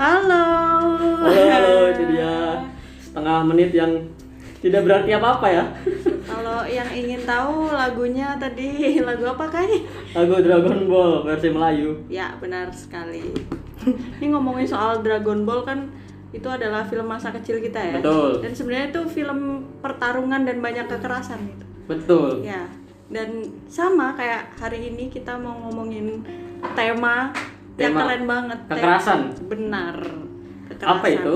Halo. Halo, halo, itu dia setengah menit yang tidak berarti apa-apa ya. Kalau yang ingin tahu lagunya tadi lagu apa kayaknya? Lagu Dragon Ball versi Melayu. Ya benar sekali. Ini ngomongin soal Dragon Ball kan itu adalah film masa kecil kita ya. Betul. Dan sebenarnya itu film pertarungan dan banyak kekerasan gitu. Betul. Ya. Dan sama kayak hari ini kita mau ngomongin tema, yang Tema keren banget. Tem- Kekerasan. Benar. Kekerasan. Apa itu?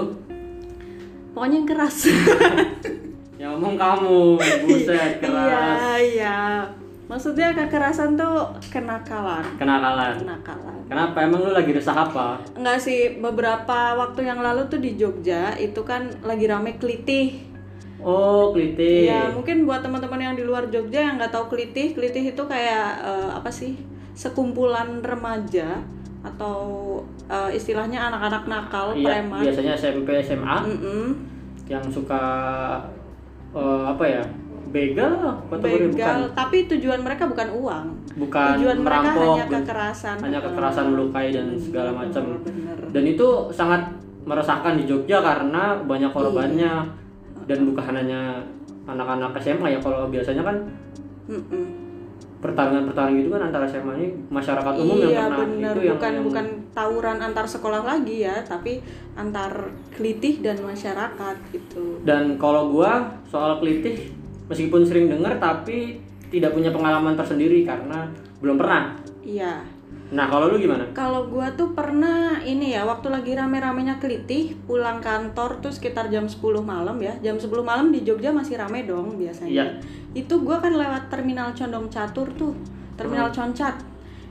Pokoknya yang keras. Yang Ya, ngomong kamu, buset keras. Iya, iya. Maksudnya kekerasan tuh kenakalan. Kenakalan. Kenakalan. Kenapa emang lu lagi resah apa? Enggak sih, beberapa waktu yang lalu tuh di Jogja itu kan lagi rame kelitih. Oh, kelitih. Ya, mungkin buat teman-teman yang di luar Jogja yang nggak tahu kelitih, kelitih itu kayak eh, apa sih? Sekumpulan remaja atau eh, istilahnya anak-anak nakal, Oh, Iya, preman. biasanya SMP, SMA Mm-mm. yang suka eh, apa ya? Begal kategori bukan Begal, tapi tujuan mereka bukan uang. bukan tujuan mereka merampok hanya dan- kekerasan. hanya kekerasan melukai dan segala macam. Bener. Dan itu sangat meresahkan di Jogja karena banyak Iya. korbannya dan bukan hanya anak-anak SMA ya kalau biasanya kan Mm-mm. pertarungan-pertarungan itu kan antara SMA ini masyarakat umum yang iya kena benar itu yang bukan yang- bukan tawuran antar sekolah lagi ya tapi antar kelitih dan masyarakat gitu dan kalau gua soal kelitih meskipun sering dengar tapi tidak punya pengalaman tersendiri karena belum pernah iya nah kalau lu gimana kalau gua tuh pernah ini ya waktu lagi rame-ramenya kelitih pulang kantor tuh sekitar jam 10 malam ya jam 10 malam di Jogja masih rame dong Iya. biasanya itu gua kan lewat terminal Condong Catur tuh terminal Hmm. Concat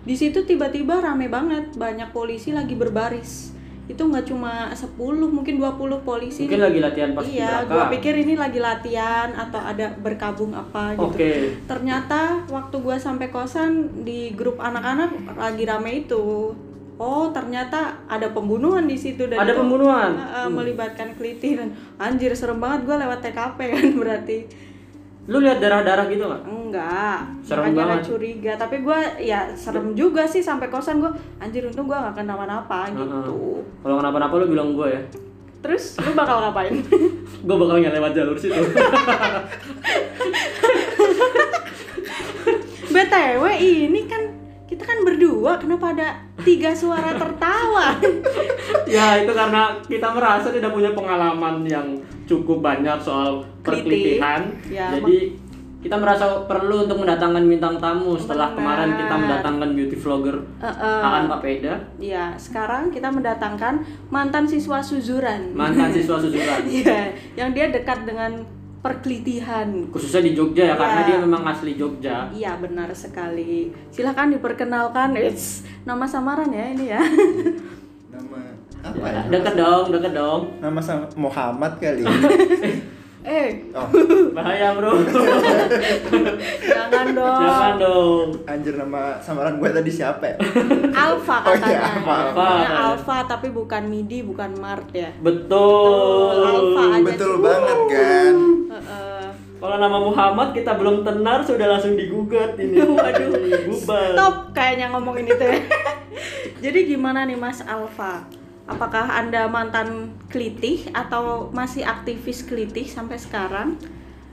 di situ tiba-tiba rame banget banyak polisi lagi berbaris itu nggak cuma 10 mungkin 20 polisi mungkin lagi latihan pas Iya, gua pikir ini lagi latihan atau ada berkabung apa oke gitu. Ternyata waktu gua sampai kosan di grup anak-anak lagi rame itu. Oh, ternyata ada pembunuhan di situ dan ada itu, pembunuhan Hmm. eh, eh, melibatkan kelitih dan anjir serem banget gua lewat TKP kan berarti. lu lihat darah-darah gitu nggak Enggak. Serem makanya banget. nggak curiga, tapi gua ya serem juga sih sampai kosan gua anjir untung gua nggak kenapa-napa gitu. kalau kenapa-napa lu bilang gua ya Terus lu bakal ngapain? gua bakal nggak lewat jalur situ BTW ini kan kita kan berdua kenapa ada tiga suara tertawa? ya itu karena kita merasa tidak punya pengalaman yang cukup banyak soal Kelitih. perkelitihan Ya, jadi kita merasa perlu untuk mendatangkan bintang tamu setelah Benar. kemarin kita mendatangkan beauty vlogger Aan Papeda Iya, sekarang kita mendatangkan mantan siswa Suzuran. mantan siswa susulan Iya, yang dia dekat dengan perkelitihan. khususnya di Jogja ya Ya. karena dia memang asli Jogja Iya, benar sekali. Silahkan diperkenalkan. It's nama samaran ya ini ya. Nama apa ya? ya, deket dong deket dong Nama sama Muhammad kali. eh, Oh, bahaya Oh. bro jangan dong. jangan dong anjir nama samaran gue tadi siapa ya? Alfa Oh iya, katanya. Alfa. Namanya Alfa. Alfa tapi bukan MIDI, bukan Mart ya. betul Alfa aja. Betul banget kan. Heeh. kalau nama Muhammad kita belum tenar sudah langsung digugat ini waduh bubar Top kayaknya ngomongin itu ya. Jadi gimana nih Mas Alfa? Apakah Anda mantan kelitih atau masih aktivis kelitih sampai sekarang?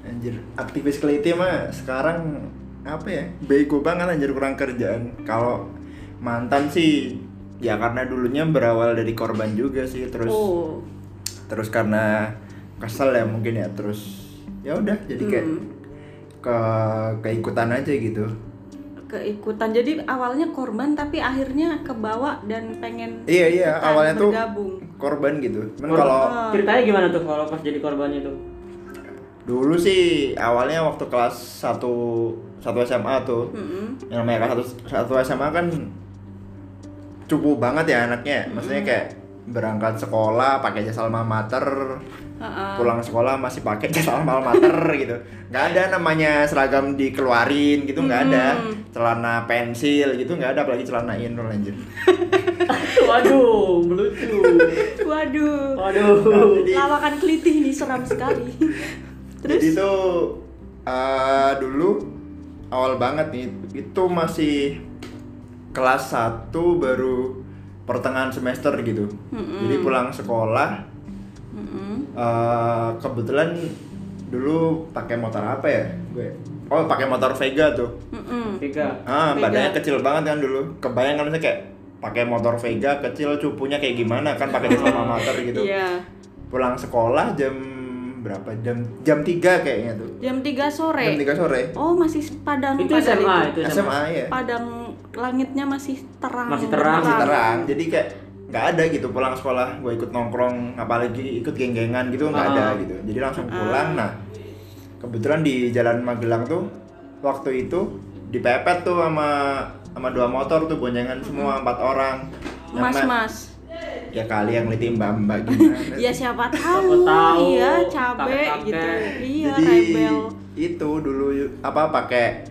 Anjir, aktivis keliti mah sekarang apa ya? Bego banget anjir kurang kerjaan. Kalau mantan sih ya karena dulunya berawal dari korban juga sih terus Oh, terus karena kesel ya mungkin ya terus ya udah jadi kayak Hmm. ke keikutan aja gitu keikutan. Jadi awalnya korban tapi akhirnya kebawa dan pengen iya iya ikutan, awalnya tuh bergabung. korban gitu cuman kalau ceritanya gimana tuh kalau pas jadi korbannya tuh Dulu sih awalnya waktu kelas 1 satu SMA tuh. Mm-mm. Yang namanya kelas satu, satu SMA kan cupu banget ya anaknya. Maksudnya kayak berangkat sekolah pakai jas alma mater, Ha-ha. pulang sekolah masih pakai jas alma mater gitu. Nggak ada namanya seragam dikeluarin gitu, nggak ada. Celana pensil gitu nggak ada apalagi celana inul anjir. waduh melucu Waduh, waduh Jadi- lawakan kelitih nih seram sekali. Jadi itu eh, dulu awal banget nih itu masih kelas 1 baru pertengahan semester gitu Mm-mm. jadi pulang sekolah Mm-mm. eh, kebetulan dulu pakai motor apa ya gue oh pakai motor Vega tuh Mm-mm. Tiga. ah Vega. badannya kecil banget kan dulu kebayang kan misalnya kayak pakai motor Vega kecil cupunya kayak gimana kan pakai jas alma mater gitu Iya. pulang sekolah jam berapa jam jam 3 kayaknya tuh Jam 3 sore. jam 3 sore Oh, masih padang Itu padang SMA, itu. itu SMA. SMA ya Padang langitnya masih terang. Masih terang. masih terang jadi kayak nggak ada gitu pulang sekolah gue ikut nongkrong apalagi ikut geng-gengan gitu nggak ada Ah. gitu jadi langsung pulang nah kebetulan di jalan Magelang tuh waktu itu dipepet tuh sama sama dua motor tuh boncengan Hmm. semua empat orang Yang Mas, ma- mas. ya kali yang liti mbak mbak gimana Ya siapa tahu, tahu, iya cabe kakek-kakek. gitu, iya jadi rebel. itu dulu apa pakai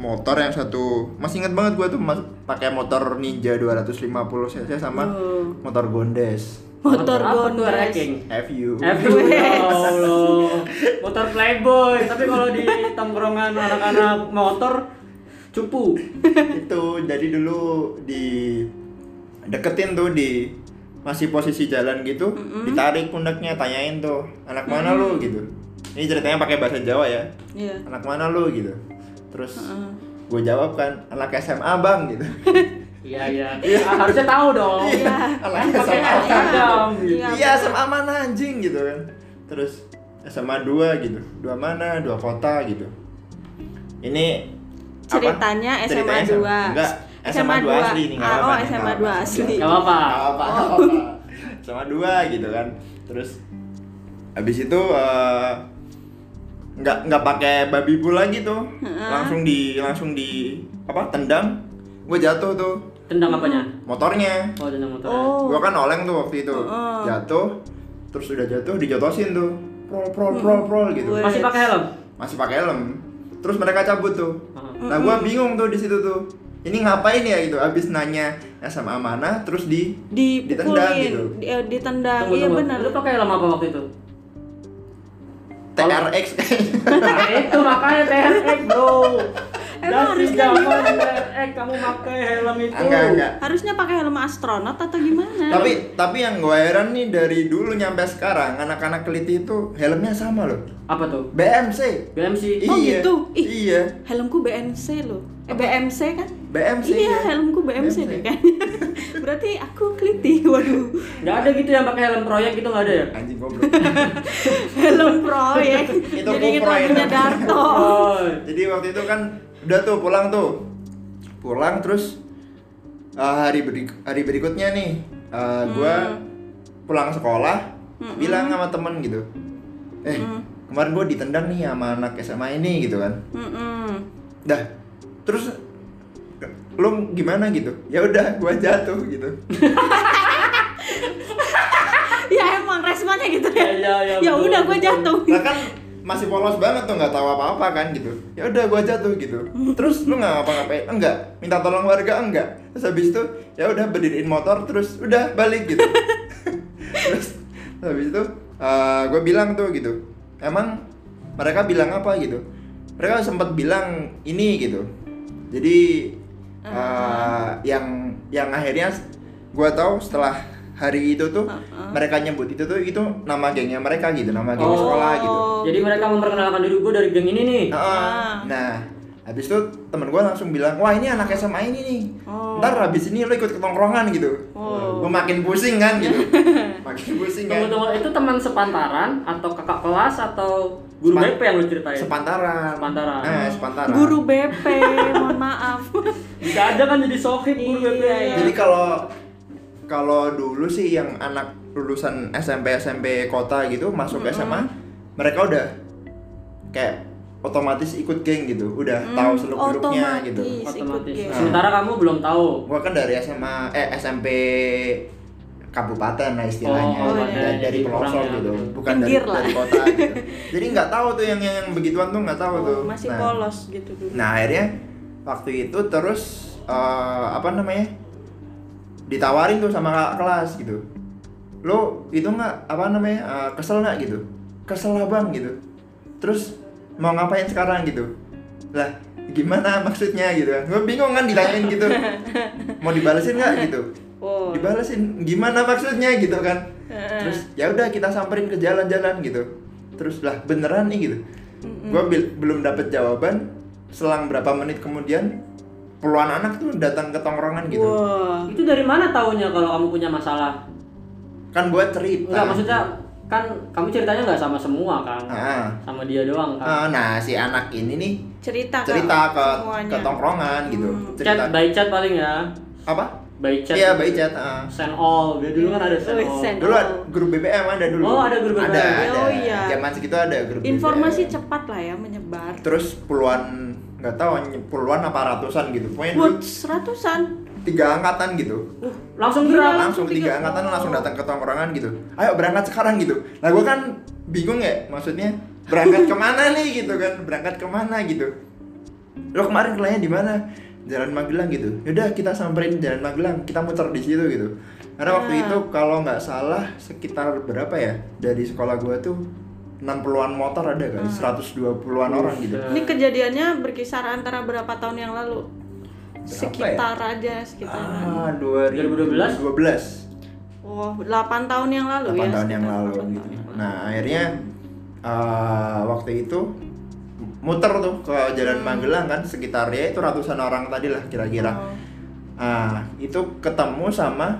motor yang satu masih inget banget gue tuh mas, pakai motor Ninja 250 cc sama Oh. motor Gondes Motor apa tuh, gondes. ranking? FU Aduh, ya Allah. Motor playboy, tapi kalau di tongkrongan anak-anak motor cupu. itu jadi dulu di deketin tuh di masih posisi jalan gitu ditarik pundaknya tanyain tuh anak mana lu gitu ini ceritanya pakai bahasa Jawa ya Iya. anak mana lu gitu terus Heeh. gue jawab kan anak SMA bang gitu Iya, iya. Ah, harusnya tahu dong. Iya. Kan anak SMA pakai Iya. Instagram gitu. Iya, iya SMA mana anjing gitu kan terus SMA dua gitu dua mana dua kota gitu ini apa? Ceritanya SMA Ceritanya 2. enggak SMA 2 asli ini nggak Ah, apa-apa Oh, nih, SMA nggak 2 apa-apa. asli. Oh. Gak apa-apa. Nggak apa-apa, nggak apa-apa. sama dua gitu kan terus habis itu eh, nggak nggak pakai babi bu lagi tuh langsung di langsung di apa tendang gue jatuh tuh Tendang apanya? motornya Oh, tendang motornya. Oh. gue kan oleng tuh waktu itu Heeh. jatuh terus udah jatuh dijotosin tuh prol prol prol prol gitu Weh. Masih pakai helm? iya, masih pakai helm terus mereka cabut tuh Heeh. nah gue bingung tuh di situ tuh ini ngapain ya gitu abis nanya SMA mana terus di Ditendang dipukulin, gitu. di- eh, ditendang. Tunggu, Iya tunggu. benar. Lu pakai helm apa waktu itu? Kalau- TRX Nah, itu makanya TRX, Bro. Dan Emang harus gitu? sejak TRX Eh, kamu pakai helm itu. enggak enggak Harusnya pakai helm astronot atau gimana? tapi tapi yang gue heran nih dari dulu nyampe sekarang anak-anak keliti itu helmnya sama loh Apa tuh? BMC BMC. Oh, iya gitu? Ih. iya helmku BMC loh. Eh BMC kan? BMC iya, ya. helmku BMC, deh kan. Berarti aku keliti. Waduh. Enggak ada gitu yang pakai helm proyek gitu enggak ada ya? anjing goblok Helm proyek. Itu ya. Jadi kita kuproy. punya Darto. Oh. jadi waktu itu kan udah tuh pulang tuh pulang terus eh, hari beri- hari berikutnya nih eh, gue pulang sekolah bilang sama temen gitu eh kemarin gue ditendang nih sama anak SMA ini gitu kan Mm-mm. dah terus lu gimana gitu ya udah gua jatuh gitu Ya emang responnya gitu ya. Ya, ya, ya, Ya betul, udah gue betul. jatuh. nah kan masih polos banget tuh nggak tahu apa apa kan gitu ya udah gua jatuh gitu terus lu nggak ngapa-ngapain enggak minta tolong warga enggak terus habis itu ya udah berdiriin motor terus udah balik gitu terus habis itu gue bilang tuh gitu emang mereka bilang apa gitu mereka sempat bilang ini gitu jadi Ah, eh, yang yang akhirnya gue tahu setelah hari itu tuh Ah, mereka nyebut itu tuh itu nama gengnya mereka gitu nama geng Oh. sekolah gitu Jadi mereka memperkenalkan diri gue dari geng ini nih. Heeh. Ah. Nah, habis itu temen gue langsung bilang, wah ini anak SMA ini nih. Oh. Ntar habis ini lo ikut ke tongkrongan gitu. Oh. Gue makin pusing kan gitu. makin pusing Tunggu kan. tunggu itu teman sepantaran atau kakak kelas atau guru Sepan- BP yang lu ceritain? Sepantaran. Sepantaran. Eh, sepantaran. Iya. Guru BP, mohon maaf. Bisa aja kan jadi sohib guru BP. Iya, iya. Jadi kalau kalau dulu sih yang anak lulusan SMP SMP kota gitu masuk Mm-hmm. SMA, mereka udah kayak otomatis ikut geng gitu, udah tahu seluk beluknya gitu. Mm-hmm. otomatis. Otomatis. Ikut geng. Sementara kamu belum tahu. gua kan dari SMA eh SMP kabupaten lah istilahnya Oh, iya. dari, dari pelosok Kurang ya. gitu bukan Pinggir dari, lah. dari kota gitu. jadi nggak tahu tuh yang yang, yang begituan tuh nggak tahu tuh Oh, masih nah, polos gitu dulu. nah akhirnya waktu itu terus eh, apa namanya ditawarin tuh sama kakak kelas gitu lo itu nggak apa namanya eh, kesel nggak gitu kesel lah bang gitu terus mau ngapain sekarang gitu lah gimana maksudnya gitu kan gue bingung kan ditanyain gitu mau dibalesin nggak gitu Oh. dibalesin gimana maksudnya gitu kan terus ya udah kita samperin ke jalan-jalan gitu terus lah beneran nih gitu gue belum dapet jawaban selang berapa menit kemudian puluhan anak tuh datang ke tongkrongan gitu Wah. Itu dari mana taunya kalau kamu punya masalah? kan gue cerita Enggak, maksudnya kan kamu ceritanya nggak sama semua kan? Ah. Sama dia doang kan? Ah, nah si anak ini nih Cerita Kak, cerita ke Ah, semuanya. Hmm. ke tongkrongan gitu cerita Chat, by chat paling ya. apa By chat. iya by chat ah. Send all. Dia dulu kan ada send Oh, all. send. dulu ada- grup BBM ada dulu Oh, ada grup ada, BBM. ada. Oh, iya. zaman segitu ada grup Informasi BBM. cepat lah ya menyebar. terus puluhan nggak tahu puluhan apa ratusan gitu pokoknya dulu Buat seratusan. tiga angkatan gitu Uh, langsung gerak. langsung tiga angkatan langsung datang ke tongkrongan gitu ayo berangkat sekarang gitu nah gue kan bingung ya maksudnya berangkat kemana nih gitu kan berangkat kemana gitu lo kemarin kelayanya di mana jalan Magelang gitu yaudah kita samperin jalan Magelang kita muter di situ gitu karena waktu Ah. itu kalau nggak salah sekitar berapa ya dari sekolah gue tuh 60-an motor ada kan 120-an orang gitu Buset. Ini kejadiannya berkisar antara berapa tahun yang lalu? ya? Sekitar aja sekitar. ah 2012 12 Oh, 8 tahun yang lalu 8 ya. tahun yang sekitar lalu gitu. 8 tahun yang lalu. Nah, akhirnya eh, waktu itu muter tuh ke Jalan Hmm. Magelang kan sekitarnya itu ratusan orang tadi lah kira-kira. Oh. Ah, itu ketemu sama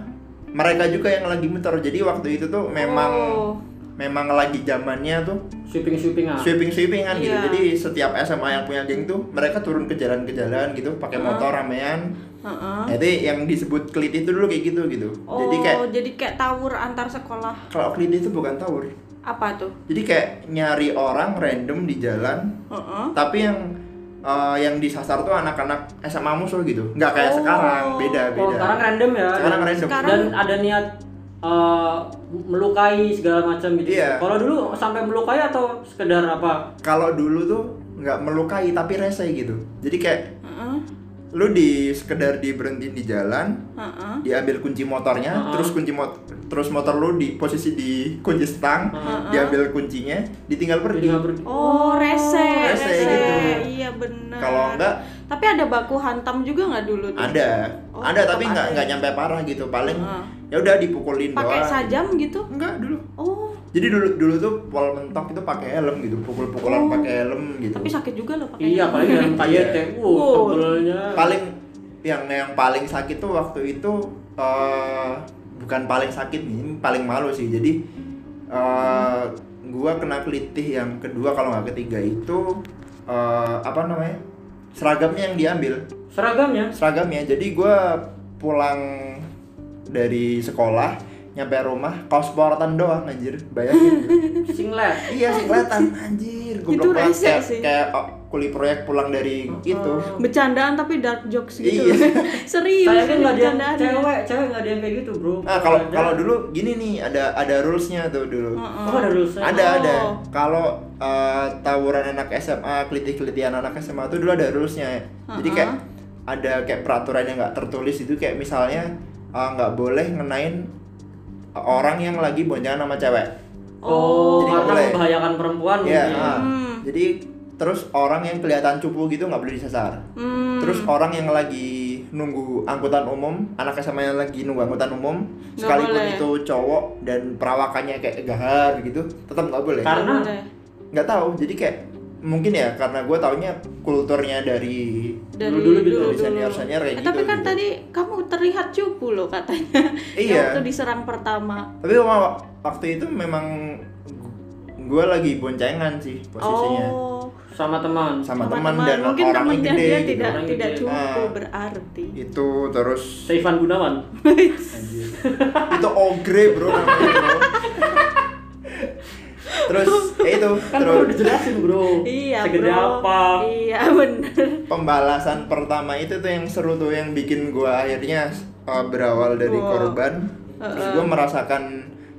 mereka juga yang lagi muter. Jadi waktu itu tuh memang Oh. Ah. memang lagi zamannya tuh Sweeping-sweepingan. sweeping-sweepingan gitu. Iya. Jadi setiap SMA yang punya geng tuh mereka turun ke jalan ke jalan gitu pakai motor ramean. Heeh. Jadi yang disebut klit itu dulu kayak gitu gitu. Oh, Jadi kayak tawur antar sekolah. kalau klit itu bukan tawur. Apa tuh? Jadi kayak nyari orang random di jalan, Heeh. tapi yang eh, yang disasar tuh anak-anak SMA musuh gitu. Nggak kayak Oh. sekarang, beda Oh, beda. sekarang random ya. Sekarang Dan- random. Sekarang- Dan ada niat eh, melukai segala macam gitu. Iya. Kalau dulu sampai melukai atau sekedar apa? Kalau dulu tuh nggak melukai tapi rese gitu. Jadi kayak Heeh. lu di sekedar diberhentiin di jalan, Heeh. diambil kunci motornya, Uh-uh. terus kunci mot terus motor lu di posisi di kunci stang, Uh-uh. diambil kuncinya, ditinggal pergi. Jadi nggak ber- Oh, rese, Rese rese. gitu. Iya benar. Kalau enggak- tapi ada baku hantam juga nggak dulu tuh? Ada, Oh, ada tetap tapi nggak ada. nggak nyampe parah gitu. Paling Uh-uh. ya udah dipukulin Pakai doang. sajam gitu? Enggak dulu. Oh, Jadi dulu dulu tuh pol mentok itu pakai helm gitu, pukul-pukulan Oh. pakai helm gitu. tapi sakit juga loh pakai. Iya, paling dalam kayet ya. Wuh, Wow. tebelnya. paling yang yang paling sakit tuh waktu itu eh bukan paling sakit nih, ini paling malu sih. Jadi eh gua kena kelitih yang kedua kalau nggak ketiga itu eh apa namanya? Seragamnya yang diambil. Seragamnya. Seragamnya. Jadi gua pulang dari sekolah nyampe rumah kaos porotan doang anjir. Bayangin. gitu. Singlet. Iya sih kelihatan anjir Itu goblok banget rese kayak, sih. Oh. kayak oh, kuli proyek pulang dari itu Bercandaan tapi dark jokes gitu. Iya. Serius. Sayangnya kan nggak ada yang bercandaannya. cewek, cewek nggak ada yang kayak gitu, bro. nah kalau Ada. kalau dulu gini nih ada ada rulesnya tuh dulu Heeh. Oh, ada rulesnya. ada ada Oh. kalau eh, tawuran anak SMA kelitih kelitihan anak SMA tuh dulu ada rulesnya jadi kayak Uh-huh. ada kayak peraturan yang nggak tertulis itu kayak misalnya eh, nggak boleh ngenain eh, orang yang lagi boncengan sama cewek Oh, Jadi karena boleh. membahayakan perempuan Iya. mungkin. ah. Hmm. Jadi terus orang yang kelihatan cupu gitu nggak boleh disasar. Hmm. Terus orang yang lagi nunggu angkutan umum, anak SMA yang lagi nunggu angkutan umum, Nggak sekalipun boleh. itu cowok dan perawakannya kayak gahar gitu, tetap nggak boleh. Karena Udah. Nggak tahu. Jadi kayak mungkin ya karena gue taunya kulturnya dari dari Dulu-dulu gitu, dulu, dari senior-senior kayak Eh, tapi gitu, kan gitu. tadi kamu terlihat cupu loh katanya Iya. Yang waktu diserang pertama tapi wa- waktu itu memang gue lagi boncengan sih posisinya oh sama teman. sama, teman dan mungkin orang temannya gede dia gitu. tidak Orang tidak gede. cupu Ah. berarti itu terus Seifan Gunawan. Anjir. itu ogre bro namanya bro. terus ya itu Kan terus bro udah jelasin, bro. iya Segede bro apa? iya bener pembalasan pertama itu tuh yang seru tuh yang bikin gua akhirnya uh, berawal dari Wow. korban terus gua merasakan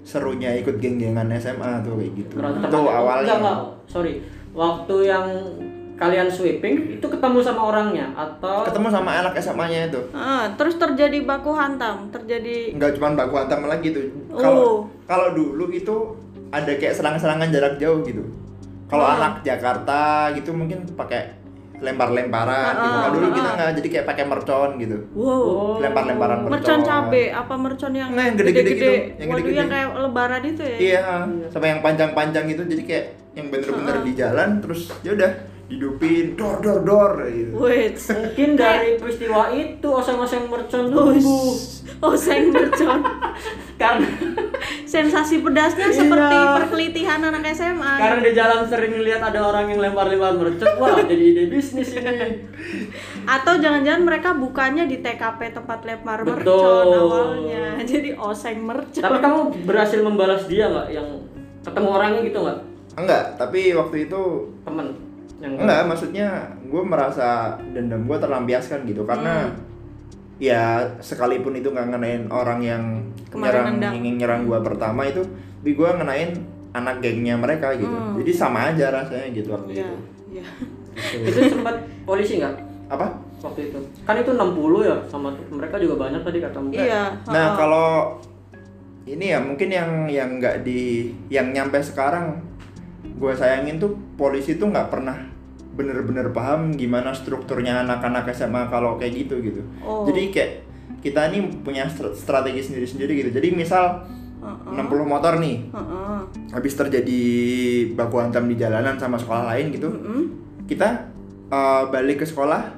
serunya ikut geng-gengan SMA tuh kayak gitu Berarti itu teman- awalnya Enggak, enggak. Sorry. Waktu yang kalian sweeping itu ketemu sama orangnya atau ketemu sama anak SMA-nya itu Ah, terus terjadi baku hantam terjadi nggak cuma baku hantam lagi tuh Oh. kalau kalau dulu itu ada kayak serang-serangan jarak jauh gitu kalau anak Jakarta gitu mungkin pakai lempar-lemparan gitu. Ah, Kalau dulu ah, kita ah. nggak jadi kayak pakai mercon gitu. Wow. Oh. Lempar-lemparan mercon. Mercon cabe apa mercon yang Nah, yang gede-gede gitu. Yang Waduh gede-gede. yang kayak lebaran itu ya. Iya, sama yang panjang-panjang gitu jadi kayak yang bener-bener di jalan terus ya udah didupin dor dor dor gitu. Wait. Mungkin dari peristiwa itu oh, oseng-oseng mercon tumbuh Oseng Oh, mercon. karena Sensasi pedasnya Iya. seperti perkelitihan anak SMA. karena di jalan sering lihat ada orang yang lempar-lempar mercon wah jadi ide bisnis ini Atau jangan-jangan mereka bukannya di TKP tempat lempar mercon Betul. awalnya. Jadi oseng mercon. tapi kamu berhasil membalas dia nggak yang ketemu orangnya gitu nggak Enggak, tapi waktu itu temen yang enggak maksudnya gue merasa dendam gue terlampiaskan gitu karena Hmm. ya sekalipun itu nggak ngenain orang yang Kemarin nyerang nendang. ingin nyerang gue pertama itu tapi gue ngenain anak gengnya mereka gitu Hmm. jadi sama aja rasanya gitu waktu Iya. itu Iya. itu sempat polisi nggak apa waktu itu kan itu 60 ya sama mereka juga banyak tadi katamu Iya. Nah ha-ha. kalau ini ya mungkin yang yang nggak di yang nyampe sekarang gue sayangin tuh polisi tuh nggak pernah bener-bener paham gimana strukturnya anak-anak SMA kalau kayak gitu gitu. Oh. Jadi kayak kita nih punya str- strategi sendiri-sendiri gitu. Jadi misal Heeh. 60 motor nih Heeh. habis terjadi baku hantam di jalanan sama sekolah lain gitu Mm-mm. kita eh, balik ke sekolah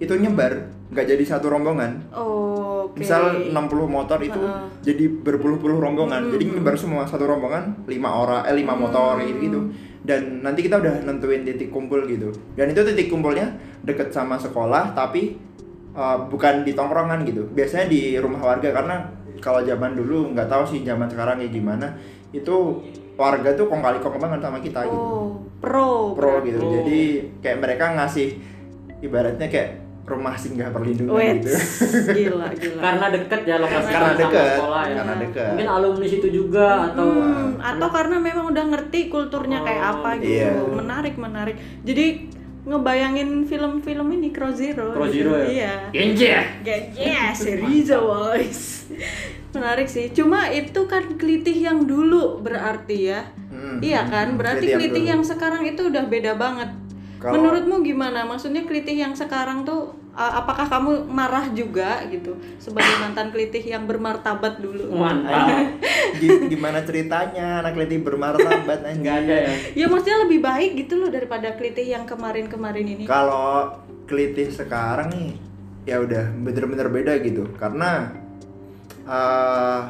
itu nyebar nggak jadi satu rombongan Oke. Misal 60 motor itu Heeh. jadi berpuluh-puluh rombongan. Jadi nyebar semua satu rombongan 5 orang eh 5 motor Mm. gitu, gitu. Dan nanti kita udah nentuin titik kumpul gitu. Dan itu titik kumpulnya deket sama sekolah tapi uh, bukan di tongkrongan gitu. Biasanya di rumah warga karena kalau zaman dulu nggak tahu sih zaman sekarang kayak gimana. Itu warga tuh kong kali kong banget sama kita gitu Oh, pro. pro berarti. gitu. Oh. Jadi kayak mereka ngasih ibaratnya kayak rumah singgah perlindungan Wait, gitu. gila gila. karena deket ya lokasi Karena sama deket, sekolah ya Iya. karena deket. mungkin alumni situ juga atau Hmm, atau karena memang udah ngerti kulturnya kayak Oh, apa gitu. iya. Menarik, menarik. Jadi ngebayangin film-film ini Crow Zero. Pro gitu. Zero ya Iya. Genje Ge- Yeah, Syriza boys. Menarik sih. Cuma itu kan kelitih yang dulu berarti ya. Hmm. Iya kan? Kelitih Berarti yang kelitih dulu. yang, sekarang itu udah beda banget. Kalau- Menurutmu gimana? Maksudnya kelitih yang sekarang tuh a- apakah kamu marah juga gitu sebagai mantan kelitih yang bermartabat dulu? mantap Nah, Gi- gimana ceritanya anak lady bermartabat nggak anjing ada ya Ya maksudnya lebih baik gitu loh daripada kelitih yang kemarin-kemarin ini. kalau kelitih sekarang nih ya udah bener-bener beda gitu karena eh,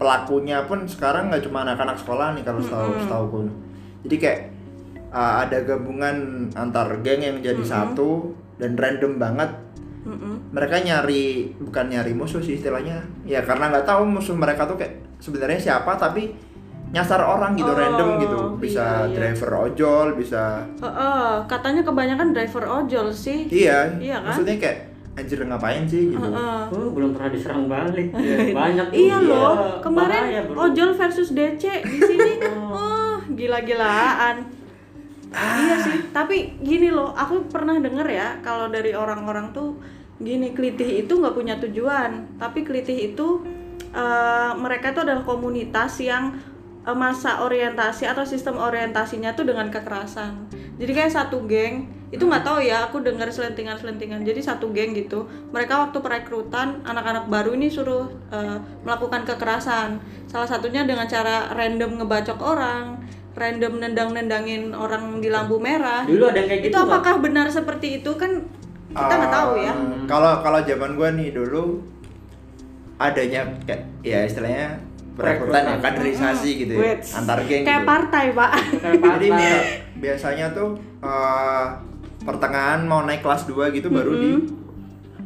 pelakunya pun sekarang nggak cuma anak-anak sekolah nih kalau setahu setahu gue. jadi kayak eh, ada gabungan antar geng yang jadi satu dan random banget Mm-mm. mereka nyari bukan nyari musuh sih istilahnya ya karena nggak tahu musuh mereka tuh kayak sebenarnya siapa tapi nyasar orang gitu Oh, random gitu iya, bisa iya. driver ojol bisa Heeh, katanya kebanyakan driver ojol sih. iya, Iya kan? maksudnya kayak anjir ngapain sih gitu Heeh. Oh, belum pernah diserang balik. Banyak tuh. Ah. Iya loh, kemarin bahaya, bro. ojol versus DC di sini. oh, gila-gilaan. Iya sih, tapi gini loh, aku pernah denger ya kalau dari orang-orang tuh gini kelitih itu nggak punya tujuan, tapi kelitih itu eh, mereka tuh adalah komunitas yang eh, masa orientasi atau sistem orientasinya tuh dengan kekerasan. Jadi kayak satu geng itu nggak tahu ya, aku dengar selentingan-selentingan. Jadi satu geng gitu, mereka waktu perekrutan anak-anak baru ini suruh eh, melakukan kekerasan. Salah satunya dengan cara random ngebacok orang, random nendang-nendangin orang di lampu merah. Dulu ada yang kayak gitu. itu apakah benar seperti itu kan kita nggak tahu ya. Eh, kalau kalau zaman gua nih dulu adanya kayak ya istilahnya perekrutan ya Perekrutan. kaderisasi gitu ya, Wait. antar geng Kayak gitu. partai, Pak. Jadi ya. Jadi bi- biasanya tuh eh, pertengahan mau naik kelas 2 gitu baru di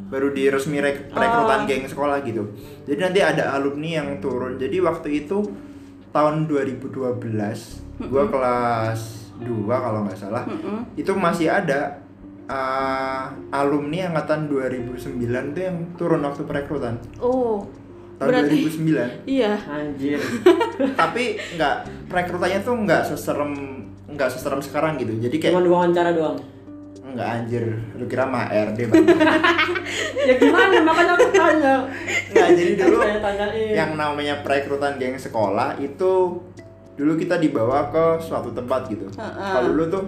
baru di resmi rek- perekrutan geng sekolah gitu. Jadi nanti ada alumni yang turun. Jadi waktu itu tahun 2012 gua kelas 2 kalau nggak salah. Itu masih ada eh, alumni angkatan 2009 tuh yang turun waktu perekrutan. Oh. Tahun Berarti 2009. iya. anjir. Tapi nggak perekrutannya tuh nggak seserem nggak seserem sekarang gitu. Jadi kayak Cuma wawancara doang. Enggak anjir, lu kira mah RD Iya. banget. Ya gimana makanya aku tanya. Kan Enggak, jadi dulu Saya tanyain. yang namanya perekrutan geng sekolah itu dulu kita dibawa ke suatu tempat gitu. Kalau dulu tuh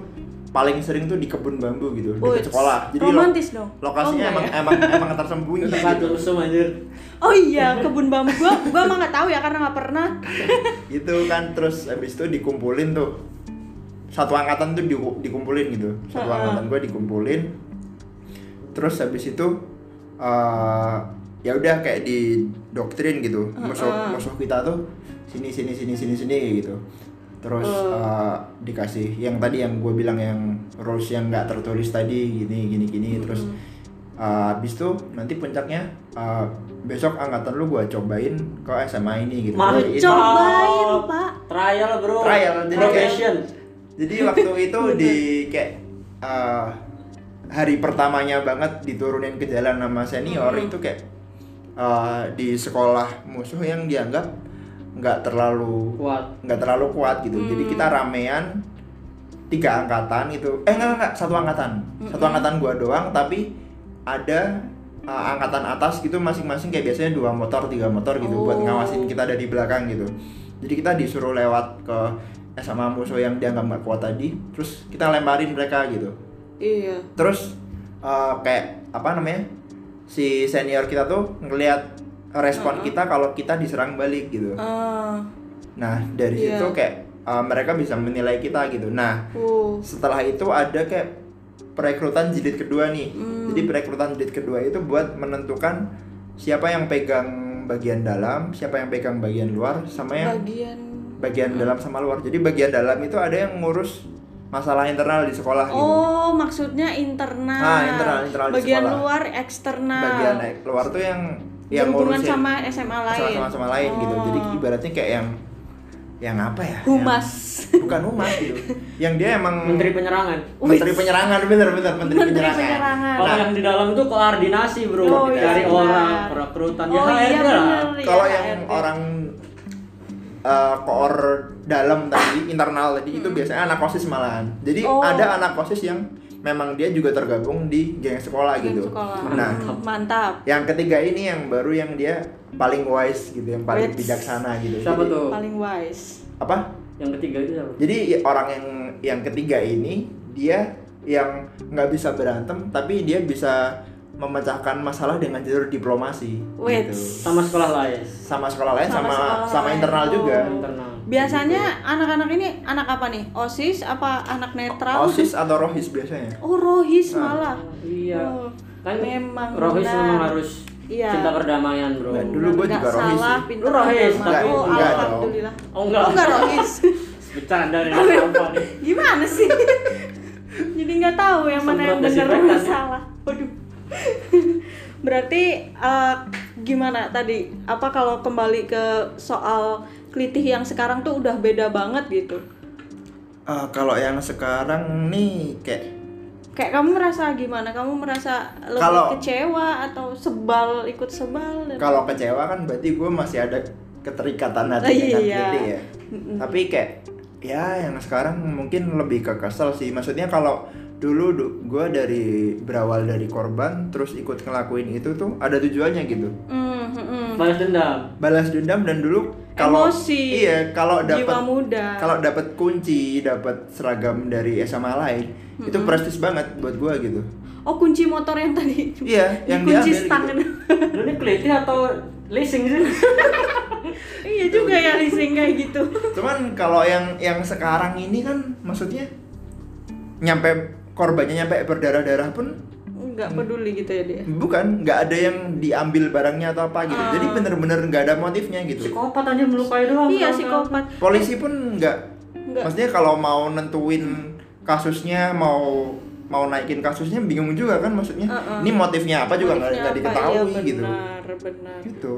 paling sering tuh di kebun bambu gitu Wih, dekat sekolah jadi lo- romantis dong. lokasinya Oh, emang, enggak emang emang tersembunyi tempat gitu rusuh anjir Oh iya, kebun bambu gua gua mah nggak tahu ya karena nggak pernah. itu kan terus abis itu dikumpulin tuh satu angkatan tuh di- dikumpulin gitu satu Heeh. angkatan gue dikumpulin terus habis itu eh, ya udah kayak di doktrin gitu musuh Heeh. musuh kita tuh sini sini sini sini sini gitu terus eh, dikasih yang tadi yang gue bilang yang rules yang nggak tertulis tadi gini gini gini terus eh, habis itu nanti puncaknya eh, besok angkatan lu gue cobain ke SMA ini gitu Mantap. Gua- itu- Cobain, Pak. Trial bro. Trial, jadi Profession. ya. jadi waktu itu di kayak eh, hari pertamanya banget diturunin ke jalan sama senior itu kayak eh, di sekolah musuh yang dianggap nggak terlalu Kuat. nggak terlalu kuat gitu. Jadi kita ramean tiga angkatan itu. Eh enggak enggak satu angkatan. Satu angkatan gua doang tapi ada uh, angkatan atas gitu masing-masing kayak biasanya dua motor, tiga motor gitu buat Oh. ngawasin kita ada di belakang gitu. Jadi kita disuruh lewat ke SMA musuh yang dianggap nggak kuat tadi, terus kita lemparin mereka gitu Iya. terus eh, kayak apa namanya si senior kita tuh ngelihat respon kita kalau kita diserang balik gitu Ah, nah dari Iya. situ kayak eh, mereka bisa menilai kita gitu nah uh. setelah itu ada kayak perekrutan jilid kedua nih Hmm. jadi perekrutan jilid kedua itu buat menentukan siapa yang pegang bagian dalam siapa yang pegang bagian luar sama yang Bagian bagian Hmm. dalam sama luar jadi bagian dalam itu ada yang ngurus masalah internal di sekolah gitu Oh, maksudnya internal. Ah, internal, internal di Bagian sekolah. luar eksternal. bagian naik keluar tuh yang yang nah. Berhubungan ngurusin sama SMA lain. Oh. sama sama lain gitu jadi ibaratnya kayak yang yang apa ya Humas. Yang- bukan humas gitu yang dia emang Menteri Hmm. penyerangan. menteri penyerangan bener bener menteri, Menteri penyerangan, penyerangan. Kalau Nah, yang di dalam itu koordinasi bro Oh, iya, dari benar. orang perekrutan ya Oh, iya, HRD lah. benar. kalau Iya, yang HRD. orang eh, koor dalam tadi internal tadi itu biasanya anak osis malahan jadi Hmm. Oh. ada anak osis yang memang dia juga tergabung di geng sekolah Bagian gitu sekolah. nah Hmm, Mantap. yang ketiga ini yang baru yang dia paling wise gitu yang paling Wits. bijaksana gitu Siapa Jadi, tuh? Paling wise. apa Yang ketiga itu siapa? Jadi ya, orang yang yang ketiga ini dia yang nggak bisa berantem tapi dia bisa memecahkan masalah dengan jalur diplomasi. Wait. gitu. Sama sekolah lain. Sama sekolah lain Sama Kan sama sekolah sama, lain. internal Oh. juga. Internal. Biasanya anak-anak ini anak apa nih? OSIS apa anak netral? OSIS Nah. atau rohis biasanya. Oh, rohis malah. Iya. Oh, Kan memang Rohis benar. memang harus Iya. cinta perdamaian bro. Dan dulu gua Nggak juga rohis. salah, sih. pinter Lu rohis, agama. tapi oh, enggak dong. alhamdulillah. Oh enggak. Oh, enggak rohis. Bercanda dari apa nih? Gimana sih? Jadi nggak tahu yang mana yang Semprot benar yang desinfektan ya. salah. Waduh. Berarti eh, gimana tadi? Apa kalau kembali ke soal klitih yang sekarang tuh udah beda banget gitu? Eh, kalau yang sekarang nih kayak Kayak kamu merasa gimana? Kamu merasa lebih Kalau- kecewa atau sebal ikut sebal? dan- kalau kecewa kan berarti gue masih ada keterikatan hati Oh, dengan iya. Gede ya tapi kayak ya yang sekarang mungkin lebih ke kesel sih maksudnya kalau dulu gue dari berawal dari korban terus ikut ngelakuin itu tuh ada tujuannya gitu Hmm, hmm, hmm. Balas dendam. balas dendam dan dulu kalau Emosi. iya kalau Jiwa dapat muda. kalau dapat kunci dapat seragam dari SMA lain itu prestis banget buat gue gitu Oh kunci motor yang tadi. Iya, yang kunci diambil gitu. stang. Lu ini kelitih atau leasing sih? iya juga ya leasing kayak gitu. Cuman kalau yang yang sekarang ini kan maksudnya nyampe korbannya nyampe berdarah-darah pun Nggak peduli gitu ya dia. bukan nggak ada yang diambil barangnya atau apa gitu. Ah. Jadi bener-bener nggak ada motifnya gitu. Psikopat aja melukai doang. Iya Bro. psikopat. Polisi pun nggak Nggak. maksudnya kalau mau nentuin kasusnya mau mau naikin kasusnya bingung juga kan maksudnya. Ini motifnya apa juga nggak Ah, Motifnya nggak apa? diketahui Iya, gitu. Benar, benar. Gitu.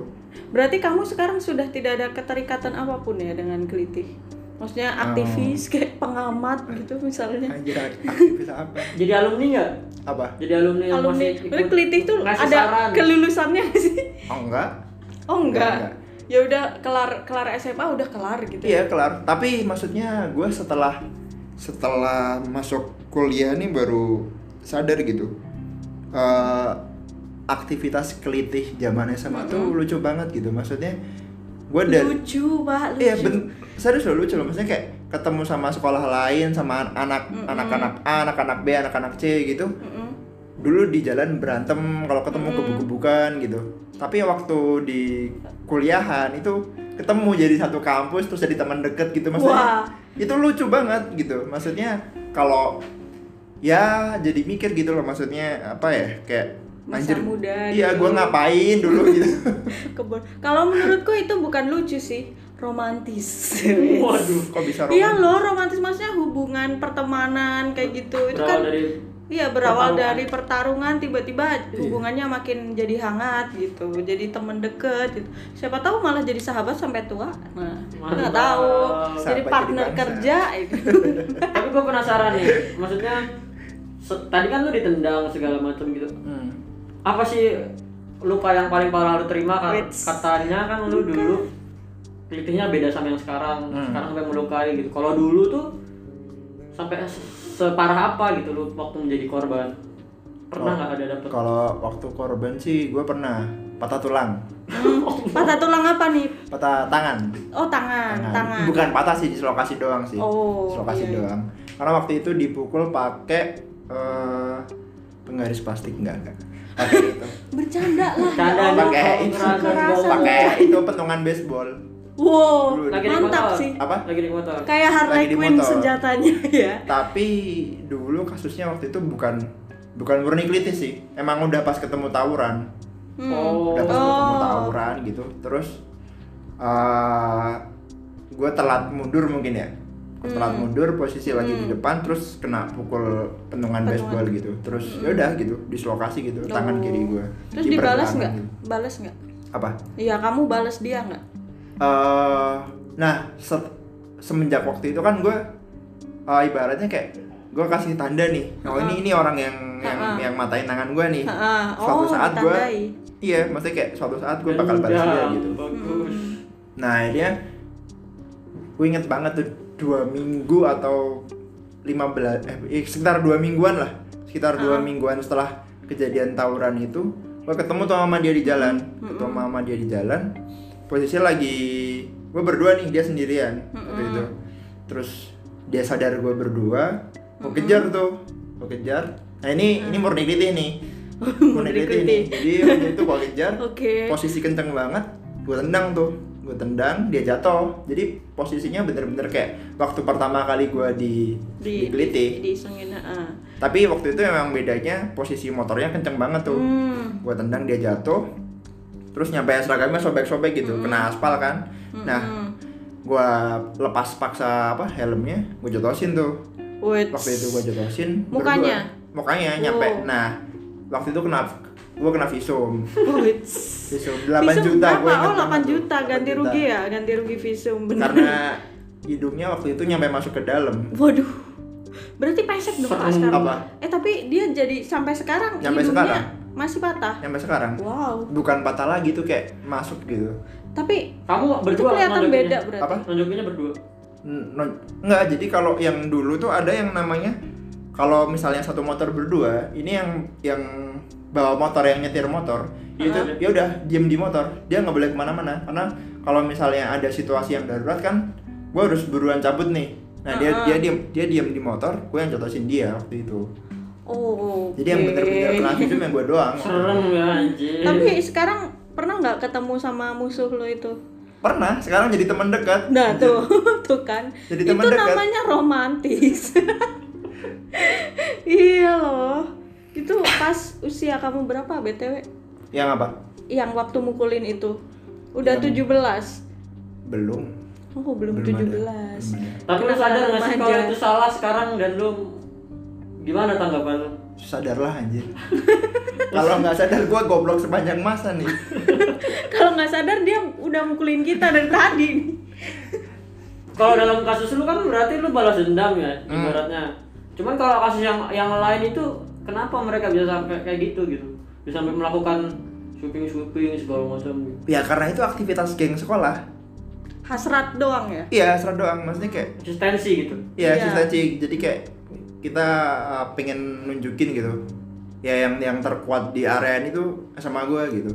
Berarti kamu sekarang sudah tidak ada keterikatan apapun ya dengan kelitih. Maksudnya Oh. aktivis kayak pengamat gitu misalnya. Anjir aktivis apa? Jadi alumni nggak? Apa? Jadi alumni yang Alumni, Iya, masih ikut berarti kelitih tuh ngasih ada saran. kelulusannya nggak sih? Oh enggak. Oh Nggak, enggak. Ya udah kelar kelar SMA udah kelar gitu. Iya kelar. Tapi maksudnya gue setelah setelah masuk kuliah nih baru sadar gitu. Eh, aktivitas kelitih zaman SMA tuh lucu banget gitu. Maksudnya gue dan Lucu, Pak, lucu. iya ben serius Iya, loh lucu loh. Maksudnya kayak ketemu sama sekolah lain sama an- anak anak-anak A, anak-anak B, anak-anak C gitu. Mm-mm. Dulu di jalan berantem kalau ketemu gebuk-gebukan gitu. Tapi waktu di kuliahan itu ketemu jadi satu kampus terus jadi teman deket gitu maksudnya. Wah. Itu lucu banget gitu. Maksudnya kalau ya jadi mikir gitu loh maksudnya apa ya kayak Masa muda Iya, dulu. gua ngapain dulu gitu. Kebun. Kalau menurutku itu bukan lucu sih, romantis. Waduh. Kok bisa Iya romantis? loh, romantis maksudnya hubungan pertemanan kayak gitu. Itu Berawal kan dari iya berawal pertarungan. Iya. dari pertarungan tiba-tiba hubungannya makin jadi hangat gitu. Jadi temen deket gitu. Siapa tahu malah jadi sahabat sampai tua. Nah, nggak Mantap. tahu. jadi Sahabat jadi partner bangsa. kerja gitu. itu. tapi gue penasaran nih maksudnya se- tadi kan lu ditendang segala macam gitu Hmm. apa sih luka yang paling parah lu terima kan Wits. katanya kan lu dulu kelitihnya beda sama yang sekarang Hmm. sekarang sampai melukai gitu kalau dulu tuh sampai se- separah apa gitu lu waktu menjadi korban pernah nggak ada dapet Oh. Kalau waktu korban sih gue pernah patah tulang, Hmm. Patah tulang apa nih? patah tangan. Oh, tangan, tangan. Bukan patah sih dislokasi doang sih. Oh, dislokasi iya, iya. doang. Karena waktu itu dipukul pakai eh, penggaris plastik enggak enggak. Pakai itu. Bercanda lah. ya Bercanda, Allah. Pakai itu. Kekerasan. Pakai itu pentungan baseball. Wow, Dulu, lagi di mantap motor sih. Apa? lagi di motor Kayak Harley Lagi di Quinn motor. senjatanya ya. Tapi dulu kasusnya waktu itu bukan bukan murni kritis sih. Emang udah pas ketemu tawuran. Hmm. oh udah pas ketemu Oh. tawuran gitu terus eh gue telat mundur mungkin ya Gua telat Hmm. mundur posisi lagi di depan terus kena pukul pentungan baseball gitu terus yaudah gitu dislokasi gitu tangan Hmm. Oh. kiri gue Terus dibalas nggak? Balas nggak? gitu. apa Iya, kamu balas dia nggak? eh nah se- semenjak waktu itu kan gue eh, ibaratnya kayak gue kasih tanda nih oh ini ini orang yang yang yang matain tangan gue nih Heeh. suatu Oh, saat gue ditandai. iya maksudnya kayak suatu saat gue bakal balas dia Dendam, gitu bagus Hmm. Nah akhirnya gue inget banget tuh dua minggu atau 15 eh eh, sekitar dua mingguan lah sekitar dua mingguan setelah kejadian tawuran itu gue ketemu tuh sama dia di jalan ketemu sama dia di jalan posisi lagi gue berdua nih dia sendirian waktu itu terus dia sadar gue berdua gue kejar tuh gue kejar nah ini ini murni kritik nih murni kritik nih jadi waktu itu gue kejar Oke. posisi kenceng banget gue tendang tuh gue tendang dia jatuh jadi posisinya bener-bener kayak waktu pertama kali gue di Di digelitik. Di sengin, heeh. tapi waktu itu memang bedanya posisi motornya kenceng banget tuh Hmm. gue tendang dia jatuh terus nyampe seragamnya sobek-sobek gitu Hmm. kena aspal kan nah gue lepas paksa apa helmnya gue jotosin tuh Wait. waktu itu gue jotosin Mukanya? berdua. mukanya nyampe Wow. nah waktu itu kena gue kena visum Wait. visum 8 juta berapa? gue inget Oh, 8 banget tuh, juta 8 ganti rugi ya, ganti rugi visum. Bener. karena hidungnya waktu itu nyampe masuk ke dalam Waduh. Berarti pesek dong Pak sekarang. Apa? Eh, tapi dia jadi sampai sekarang Sampai hidungnya sekarang? masih patah. nyampe sekarang Wow. bukan patah lagi tuh kayak masuk gitu Tapi kamu itu berdua kelihatan nunjukinnya? beda berarti. Apa? nunjukinnya berdua N- non- nggak jadi kalau yang dulu tuh ada yang namanya kalau misalnya satu motor berdua ini yang yang bawa motor yang nyetir motor itu ya udah diem di motor dia nggak boleh kemana-mana karena kalau misalnya ada situasi yang darurat kan gue harus buruan cabut nih nah dia dia diem dia diem di motor gue yang jotosin dia waktu itu Oh. jadi yang oke. bener-bener kena visum yang gue doang serem ya anjir Tapi sekarang pernah nggak ketemu sama musuh lo itu? pernah sekarang jadi teman dekat Nah tuh, tuh kan. Jadi itu teman dekat. namanya romantis. iya loh. Itu pas usia kamu berapa btw? yang apa Yang waktu mukulin itu udah 17 belum Oh belum, Belum 17 Tapi lu Kenapa sadar nggak sih remaja? kalau itu salah sekarang dan lu gimana tanggapan lu? sadarlah anjir kalau nggak sadar gua goblok sepanjang masa nih Kalau nggak sadar dia udah mukulin kita dari tadi. Kalau dalam kasus lu kan berarti lu balas dendam ya Hmm. ibaratnya. Cuman kalau kasus yang yang lain itu kenapa mereka bisa sampai kayak gitu gitu? Bisa sampai melakukan shopping shopping segala macam gitu. ya karena itu aktivitas geng sekolah Hasrat doang ya. iya serah doang maksudnya kayak Konsistensi gitu. ya Iya. cita jadi kayak kita uh, pengen nunjukin gitu ya yang yang terkuat di area itu sama gua gitu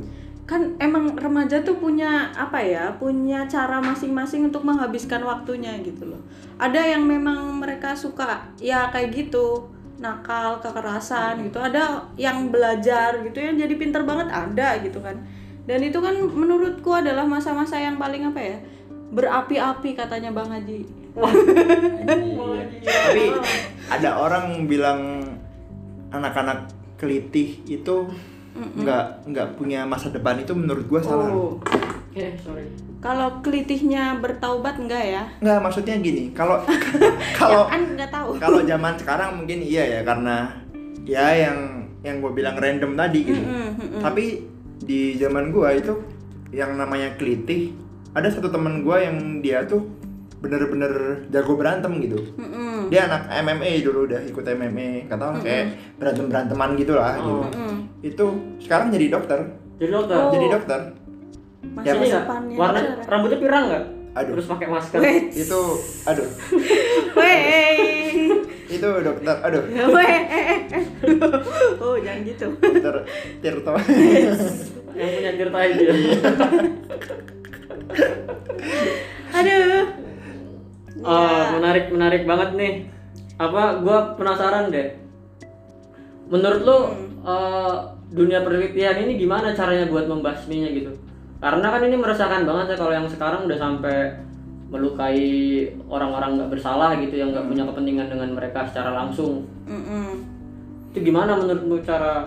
kan emang remaja tuh punya apa ya punya cara masing-masing untuk menghabiskan waktunya gitu loh ada yang memang mereka suka ya kayak gitu nakal kekerasan gitu ada yang belajar gitu yang jadi pinter banget ada gitu kan dan itu kan menurutku adalah masa-masa yang paling apa ya berapi-api katanya bang Haji Eh, Iya. tapi ada orang bilang anak-anak kelitih itu nggak nggak punya masa depan itu menurut gua salah oh Oke, eh, sorry. kalau kelitihnya bertaubat enggak ya nggak maksudnya gini kalau kalau ya kan nggak tahu kalau zaman sekarang mungkin iya ya karena ya yang yang gue bilang random tadi gitu tapi di zaman gue itu yang namanya kelitih ada satu teman gue yang dia tuh bener-bener jago berantem gitu Mm-mm. dia anak MMA dulu udah ikut MMA kata orang kayak berantem beranteman gitulah gitu. Oh. Mm-mm. Oh. itu sekarang jadi dokter Jadi lo tau. jadi dokter masa Ya, Ini nggak? depannya warna cerah. rambutnya pirang nggak? Aduh. Terus pakai masker. Weh. itu aduh Wey. itu dokter aduh Wey. oh jangan gitu dokter Tirto Yang punya Tirta itu. aduh Eh, menarik menarik banget nih. Apa? Gua penasaran deh. Menurut lo eh, dunia penelitian ini gimana caranya buat membasminya gitu? Karena kan ini meresahkan banget ya kalau yang sekarang udah sampai melukai orang-orang nggak bersalah gitu yang nggak punya kepentingan dengan mereka secara langsung. Mm-mm. itu gimana menurutmu cara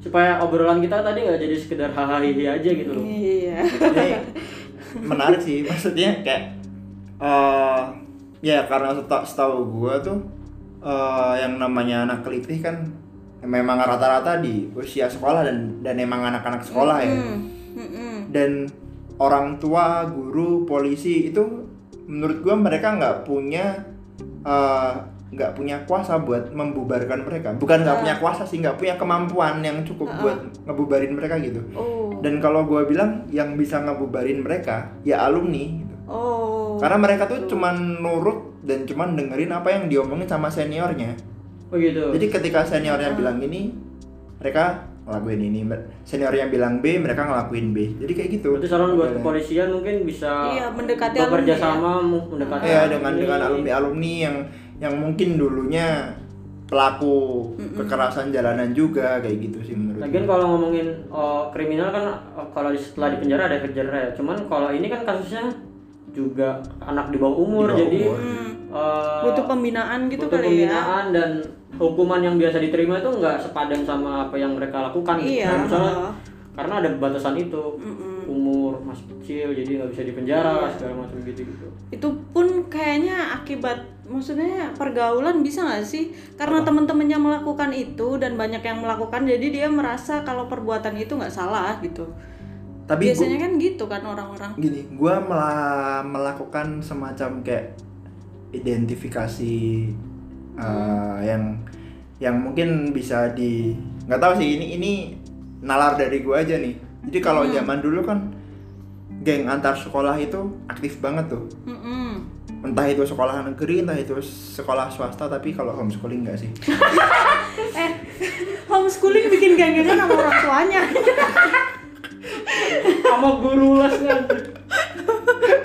supaya obrolan kita tadi nggak jadi sekedar hahaha aja gitu loh Iya. Ini menarik sih maksudnya kayak eh ya karena seta- setahu gua tuh eh, yang namanya anak kelitih kan memang rata-rata di usia sekolah dan dan emang anak-anak sekolah ya Mm-mm. dan orang tua guru polisi itu menurut gua mereka nggak punya eh, nggak punya kuasa buat membubarkan mereka bukan nggak punya kuasa sih nggak punya kemampuan yang cukup buat ngebubarin mereka gitu Oh. dan kalau gue bilang yang bisa ngebubarin mereka ya alumni gitu. Oh. karena mereka tuh cuman nurut dan cuman dengerin apa yang diomongin sama seniornya begitu jadi ketika Ah. seniornya bilang ini mereka ngelakuin ini Mer- seniornya bilang B mereka ngelakuin B jadi kayak gitu berarti saran buat Modelnya. kepolisian mungkin bisa Iya, mendekati bekerja alumni ya. sama mu- mendekati ya alumni. dengan dengan alumni alumni yang yang mungkin dulunya pelaku kekerasan jalanan juga kayak gitu sih menurut gue. Lagian kalau ngomongin oh, kriminal kan oh, kalau di- setelah di penjara ada efek jerah ya. Cuman kalau ini kan kasusnya juga anak di bawah umur, Di bawah jadi umur. eh, Hmm. butuh pembinaan gitu kali butuh ya. pembinaan dan hukuman yang biasa diterima itu nggak sepadan sama apa yang mereka lakukan gitu. Iya. Nah, misalnya, karena ada batasan itu umur masih kecil jadi nggak bisa Iya. dipenjara segala macam gitu gitu Itu pun kayaknya akibat maksudnya pergaulan bisa nggak sih? Karena teman-temannya melakukan itu dan banyak yang melakukan jadi dia merasa kalau perbuatan itu nggak salah gitu. tapi gue Biasanya kan gitu kan orang-orang. gini gue mela- melakukan semacam kayak identifikasi uh, yang yang mungkin bisa di nggak tahu sih ini ini nalar dari gue aja nih jadi kalau zaman dulu kan geng antar sekolah itu aktif banget tuh Mm-mm. entah itu sekolah negeri entah itu sekolah swasta tapi kalau homeschooling nggak sih Eh, homeschooling bikin geng-gengan sama orang tuanya. sama guru kan. lesnya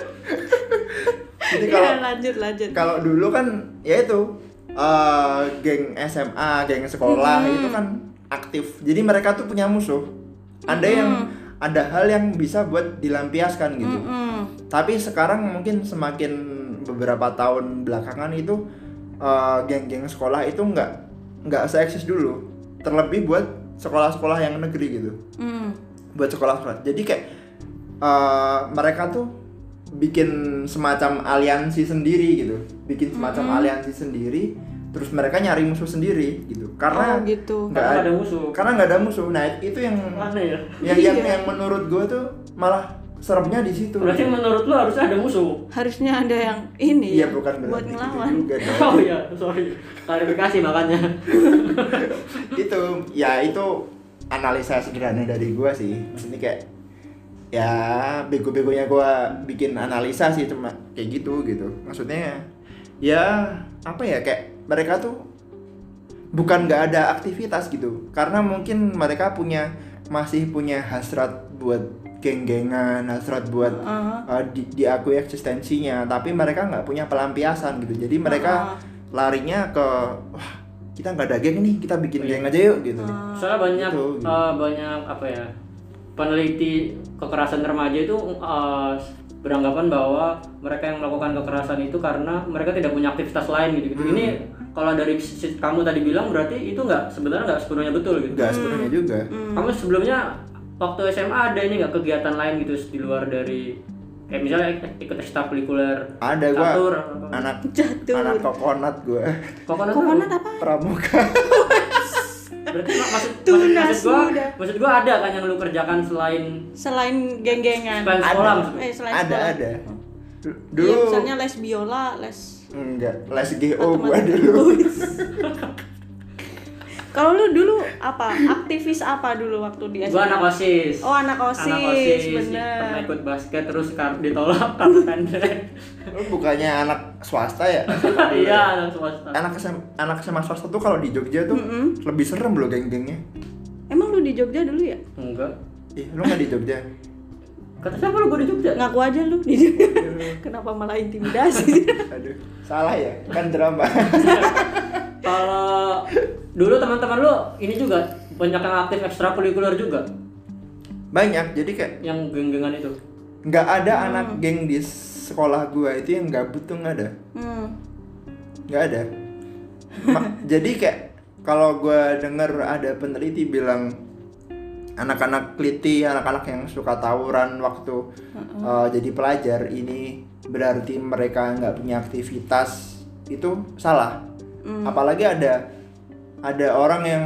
jadi kalau ya, lanjut lanjut. kalau dulu kan ya itu eh, geng SMA, geng sekolah itu kan aktif. Jadi mereka tuh punya musuh. Ada yang ada hal yang bisa buat dilampiaskan gitu. Mm. Tapi sekarang mungkin semakin beberapa tahun belakangan itu eh, geng-geng sekolah itu nggak nggak seeksis dulu. Terlebih buat sekolah-sekolah yang negeri gitu Mm. buat sekolah-sekolah. Jadi kayak eh, mereka tuh bikin semacam aliansi sendiri gitu, bikin semacam Mm-hmm. aliansi sendiri, terus mereka nyari musuh sendiri gitu. Karena Oh, gitu. nggak karena ada ada musuh karena nggak ada musuh. Nah itu yang aneh ya yang Iya. yang, yang menurut gue tuh malah seremnya di situ. Gitu. berarti menurut lu harusnya ada musuh Harusnya ada yang ini Iya ya, bukan buat berarti gitu ngelawan. juga dong. oh iya sorry klarifikasi makanya itu ya itu analisa sederhana dari gua sih ini kayak ya bego-begonya gua bikin analisa sih cuma kayak gitu gitu maksudnya ya apa ya kayak mereka tuh bukan nggak ada aktivitas gitu karena mungkin mereka punya masih punya hasrat buat geng-gengan, hasrat buat Heeh. uh, di, diakui eksistensinya, tapi mereka nggak punya pelampiasan gitu. Jadi mereka larinya ke wah kita nggak ada geng nih, kita Oh, bikin iya. geng aja yuk gitu. Ah. soalnya banyak Gitu, gitu. eh, banyak apa ya peneliti kekerasan remaja itu eh, beranggapan bahwa mereka yang melakukan kekerasan itu karena mereka tidak punya aktivitas lain gitu gitu ini kalau dari si- kamu tadi bilang berarti itu nggak sebenarnya nggak sepenuhnya betul gitu Nggak sebenarnya Hmm. juga. kamu sebelumnya waktu SMA ada ini nggak kegiatan lain gitu di luar dari kayak misalnya ik- ikut ekstrakurikuler Ada gua catur anak Catur. anak kokonat gua kokonat tuh- Kokonat apa? pramuka. berarti mak- maksud maksud, Tunas maksud gua muda. maksud gua ada kan yang lu kerjakan selain Selain geng-gengan. selain sekolah maksud Eh, selain ada sekolah. ada. Du- Iya, Dulu misalnya Oh, les biola, les enggak les GO gua matematika. dulu. Kalau lu dulu apa? Aktivis apa dulu waktu di SMA? gua anak osis Ya, Oh, anak OSIS, anak osis bener. pernah ikut basket terus kar- ditolak karena pendek Lu bukannya anak swasta ya? iya anak swasta anak SM, anak SMA swasta tuh kalau di Jogja tuh Mm-mm. lebih serem loh geng-gengnya. Emang lu di Jogja dulu ya? enggak Ih, lu nggak di Jogja? kata siapa lu gua di Jogja Ngaku aja lu di Jogja. Kenapa malah intimidasi? Aduh, salah ya, kan drama. kalau dulu teman-teman lu ini juga banyak yang aktif ekstrakurikuler juga Banyak, jadi kayak yang genggengan itu nggak ada Hmm. anak geng di sekolah gua itu yang gabut tuh nggak ada, hmm. nggak ada. Ma- jadi kayak kalau gua denger ada peneliti bilang anak-anak kliti, anak-anak yang suka tawuran waktu uh, jadi pelajar ini berarti mereka nggak punya aktivitas itu salah. Apalagi ada ada orang yang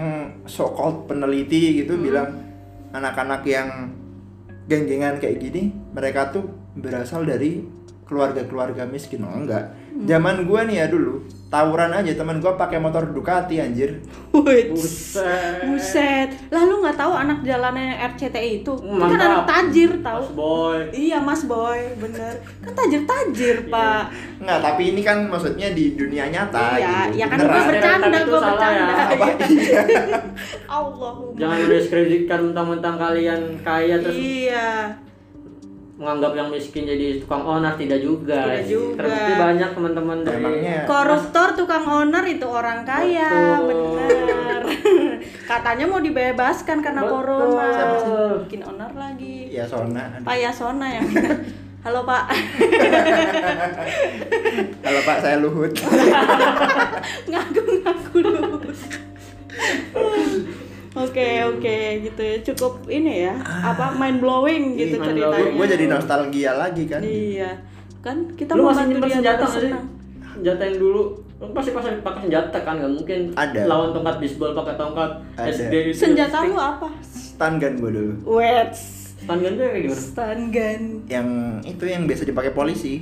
so called peneliti gitu bilang anak-anak yang geng-gengan kayak gini mereka tuh berasal dari keluarga-keluarga miskin oh, enggak. Hmm. Zaman gua nih ya dulu tawuran aja teman gua pakai motor Ducati anjir. Wih, buset Buset. Lah lu nggak tahu anak jalannya RCTI itu? Itu kan Mantap. anak tajir tahu. Mas boy Iya Mas Boy, bener. Kan Iya. tajir-tajir Pak. Enggak, tapi ini kan maksudnya di dunia nyata Iya, gitu. ya kan beneran. gue Beneran. bercanda, Stereotip itu gue salah bercanda. ya. Apa? Iya. Allahumma. jangan mendeskripsikan mentang-mentang kalian kaya terus Iya. menganggap yang miskin jadi tukang onar tidak juga. Tidak Iya. juga. Terbukti banyak teman-teman dari Emangnya Koruptor tukang owner itu orang kaya, Betul. bener. Katanya mau dibebaskan karena Betul. corona. Siapa sih? Bikin owner lagi. ya Sona. Pak Yasona yang Halo Pak. Kalau Pak saya Luhut. Iya, Ngaku-ngaku dulu. Oke oke gitu ya cukup ini ya apa mind blowing gitu Mind blowing. ceritanya. gue jadi nostalgia lagi kan. Iya. Kan kita lu mau masih bantu nyimpen dia senjata untuk nggak sih? senang. Senjata yang dulu lu pasti pasti pakai senjata kan nggak mungkin Ada. lawan tongkat baseball pakai tongkat gitu. Ada. SD itu. Senjata lu apa? Stun gun gue dulu. Wets. Stun gun tuh kayak gimana? Stun gun. Yang itu yang biasa dipakai polisi,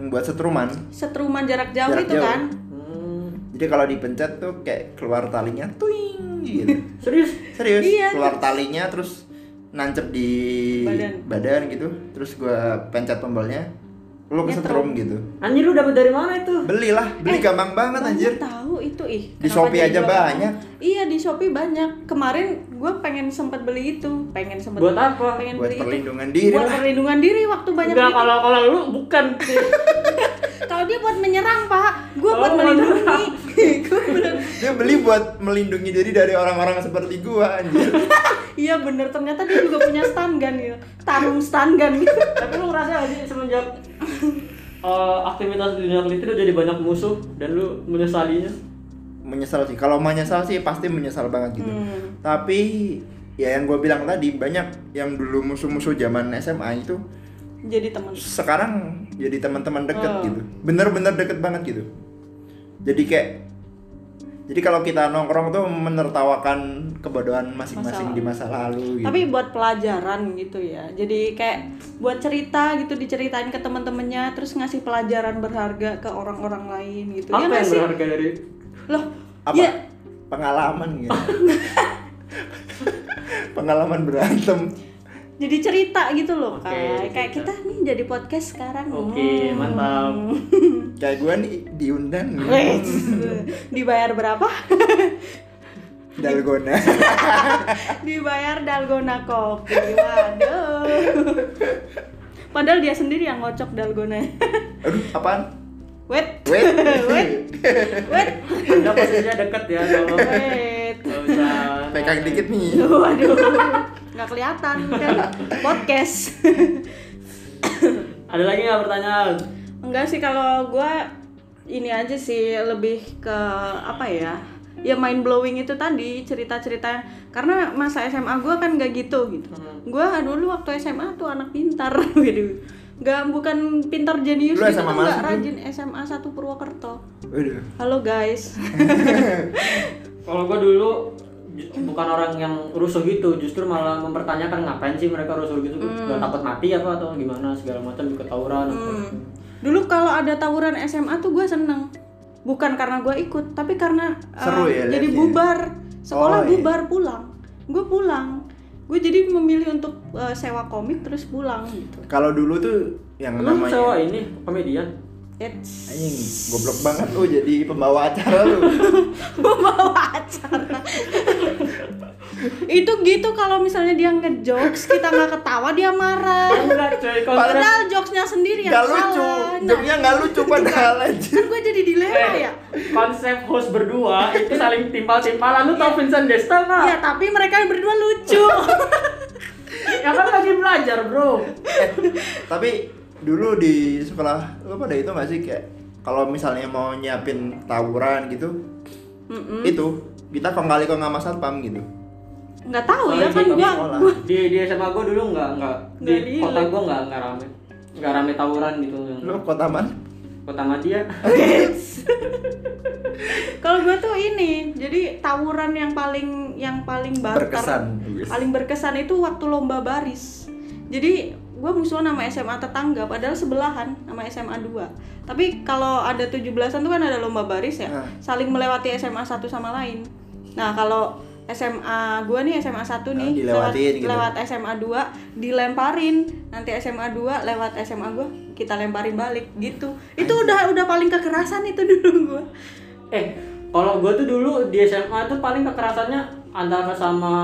yang buat setruman. Setruman jarak jauh Jarak itu jauh. kan? Hmm. Jadi kalau dipencet tuh kayak keluar talinya, tuing gitu. Serius? Serius, Iya, keluar talinya terus nancep di Badan. gitu. Terus gue pencet tombolnya, lu kesetrum gitu. Anjir lu dapat dari mana itu? Belilah, Eh. beli gampang banget anjir. Banyak tahu itu ih. Di kenapa Shopee jadi aja gua tahu? banyak. Iya, di Shopee banyak. Kemarin gue pengen sempat beli itu, pengen sempat Buat apa? Pengen Buat beli itu. perlindungan diri buat lah. perlindungan diri waktu banyak Enggak gitu. kalau kalau lu bukan. Kalau dia buat menyerang, Pak. Gue Oh, buat melindungi. menyerang. Gua bener- Dia beli buat melindungi diri dari orang-orang seperti gua anjir. Iya bener, ternyata dia juga punya stun gun gitu. Tarung stun gun gitu. Tapi lu ngerasa gak sih semenjak eh, aktivitas di dunia itu lu jadi banyak musuh dan lu menyesalinya? menyesal sih. Kalau menyesal sih pasti menyesal banget gitu. Hmm. Tapi ya yang gue bilang tadi banyak yang dulu musuh-musuh zaman SMA itu Jadi temen. sekarang jadi teman-teman deket Oh. gitu. Bener-bener deket banget gitu. Jadi kayak jadi kalau kita nongkrong tuh menertawakan kebodohan masing-masing Masa- di masa lalu Iya. gitu. tapi buat pelajaran gitu ya jadi kayak buat cerita gitu diceritain ke teman-temannya terus ngasih pelajaran berharga ke orang-orang lain gitu Apa ya nggak yang sih berharga dari loh apa ya pengalaman Oh, gitu. pengalaman berantem. jadi cerita gitu loh Oke, kayak kayak cerita. kita nih jadi podcast sekarang Oke, Hmm. mantap. Kayak gue nih diundang. Wes, dibayar berapa dalgona dibayar dalgona kopi waduh padahal dia sendiri yang ngocok dalgona aduh apaan wait Wait. wait wait Udah posisinya deket ya kalau wait kalau bisa pegang dikit nih waduh nggak kelihatan kan podcast Ada lagi nggak pertanyaan? enggak sih kalau gua ini aja sih lebih ke apa ya ya mind blowing itu tadi cerita cerita karena masa SMA gua kan gak gitu gitu gua dulu waktu SMA tuh anak pintar gitu nggak bukan pintar jenius Lu gitu SMA tuh nggak mana sih? rajin SMA 1 Purwokerto Waduh. halo guys Kalau gua dulu ju- bukan orang yang rusuh gitu, justru malah mempertanyakan ngapain sih mereka rusuh gitu, Hmm. Gua takut mati apa atau gimana segala macam ikut tawuran. apa. dulu kalau ada tawuran SMA tuh gua seneng bukan karena gua ikut tapi karena eh, Seru ya jadi liatnya. bubar sekolah Oh, iya. bubar pulang gue pulang gue jadi memilih untuk eh, sewa komik terus pulang gitu kalau dulu tuh yang Lu namanya sewa ini komedian. Eits, anjing goblok banget lu jadi pembawa acara lu membawa acara itu gitu kalau misalnya dia ngejokes kita nggak ketawa dia marah Enggak, coy, konsep padahal jokesnya sendiri yang nggak lucu salah Nah, joknya nggak lucu padahal aja kan gue jadi dilema Eh, ya konsep host berdua itu saling timpal-timpalan. Lu tau Vincent Desta nggak? ya tapi mereka berdua lucu Ya kan lagi belajar bro. tapi dulu di sekolah lu pada itu nggak sih kayak kalau misalnya mau nyiapin tawuran gitu Mm-mm. itu kita kong kali kong sama satpam gitu nggak tahu ya Soalnya kan di gua sekolah. gua Di di SMA gua dulu nggak nggak Nggak di di- kota gua nggak nggak rame nggak rame tawuran gitu yang lu kota mana kota Madia. kalau gua tuh ini jadi tawuran yang paling yang paling barter Berkesan. paling berkesan itu waktu lomba baris jadi gua musuhan sama SMA tetangga padahal sebelahan sama SMA 2 tapi kalau ada 17-an tuh kan ada lomba baris ya Ah. saling melewati SMA satu sama lain nah kalau SMA gua nih SMA 1 nih Ah, dilewatin lewat, gitu. lewat SMA 2 dilemparin nanti SMA 2 lewat SMA gua kita lemparin balik gitu itu udah udah paling kekerasan itu dulu gua Eh kalau gua tuh dulu di SMA tuh paling kekerasannya antara sama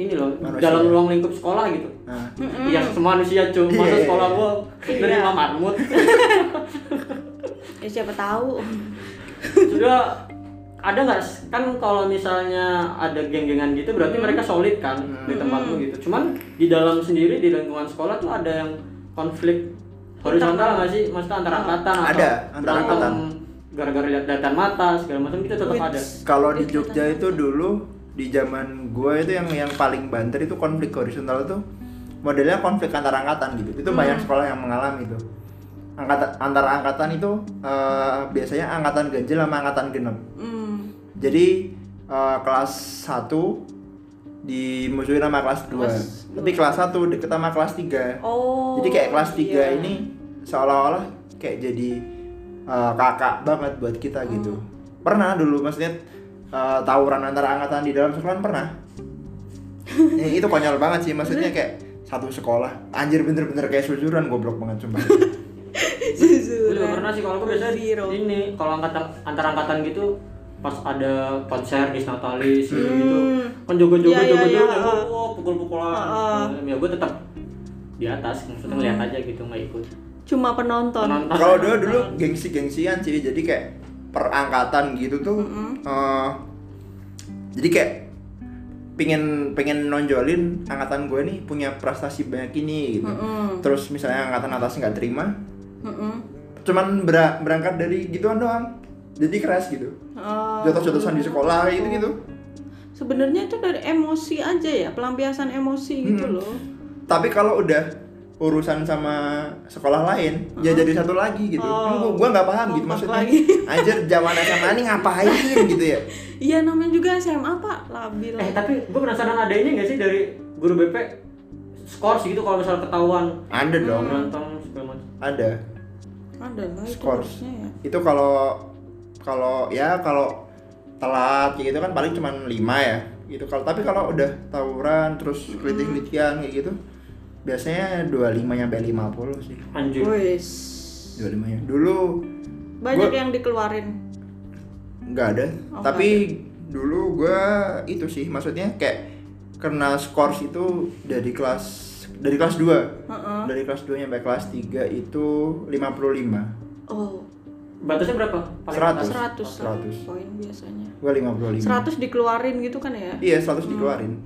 ini loh Manusia. dalam ruang lingkup sekolah gitu. nah Ya semua manusia cuma masa Iya. sekolah gua Iya. nerima marmut. ya siapa tahu Sudah ada nggak s- kan kalau misalnya ada geng-gengan gitu berarti Hmm. mereka solid kan di tempat lu gitu. Cuman di dalam sendiri di lingkungan sekolah tuh ada yang konflik horizontal nggak sih? Maksudnya antara angkatan Ada, atau antara berantem angkatan. gara-gara lihat datan mata segala macam kita tetap Wih. ada. kalau di Jogja itu dulu di zaman gue itu yang yang paling banter itu konflik horizontal itu modelnya konflik antar angkatan gitu itu Mm. banyak sekolah yang mengalami itu angkatan antara angkatan itu eh, biasanya angkatan ganjil sama angkatan genep Hmm, jadi eh, kelas 1 dimusuhin sama kelas 2 tapi kelas 1 deket sama kelas 3 Oh. jadi kayak kelas 3 iya. ini seolah-olah kayak jadi uh, kakak banget buat kita gitu. Hmm. Pernah dulu maksudnya uh, tawuran antara angkatan di dalam sekolah pernah. Ya, itu konyol banget sih maksudnya kayak satu sekolah. Anjir bener-bener kayak susuran goblok banget sumpah. Gue Susuran. juga pernah sih kalau gue biasanya Zero. ini kalau angkatan antara angkatan gitu pas ada konser di Natalis gitu gitu kan jogo jogo Iya, iya, jogo jogo iya, jogo ah. wow, pukul pukulan Ah, ya gue tetap di atas maksudnya Hmm. ngeliat aja gitu nggak ikut Cuma penonton. Penonton. Kalau dulu dulu gengsi-gengsian sih jadi kayak perangkatan gitu tuh. uh, jadi kayak pengen pengen nonjolin angkatan gue nih punya prestasi banyak ini gitu. Mm-mm. Terus misalnya angkatan atas nggak terima, Mm-mm. cuman bera- berangkat dari gituan doang jadi keras gitu Oh. jotos-jotosan di sekolah gitu gitu Sebenarnya itu dari emosi aja ya, pelampiasan emosi gitu loh. tapi kalau udah urusan sama sekolah lain ya jadi satu lagi gitu Kan Oh. gua nggak paham gitu Kompak maksudnya lagi. anjir zaman SMA ini ngapain gitu ya Iya namanya juga SMA Pak, labil. eh tapi gue penasaran ada ini nggak sih dari guru BP skor gitu kalau misal ketahuan ada Hmm. dong berantem segala macam ada Ada lah Oh, itu Scores. harusnya ya. itu kalau kalau ya kalau telat kayak gitu kan paling cuman lima ya gitu kalau tapi kalau udah tawuran terus Hmm. kritik-kritikan kayak gitu biasanya 25 nyampe 50 sih anjir Wes. 25 ya. Dulu Banyak Gua- yang dikeluarin. nggak ada, Oh, tapi dulu gue itu sih maksudnya kayak kena scores itu dari kelas dari kelas 2 Heeh. dari kelas 2 sampai kelas 3 itu 55 Oh, Batasnya berapa? Seratus. 100 Seratus. Hmm. poin biasanya. gue 55 100 dikeluarin gitu kan ya? iya 100 dikeluarin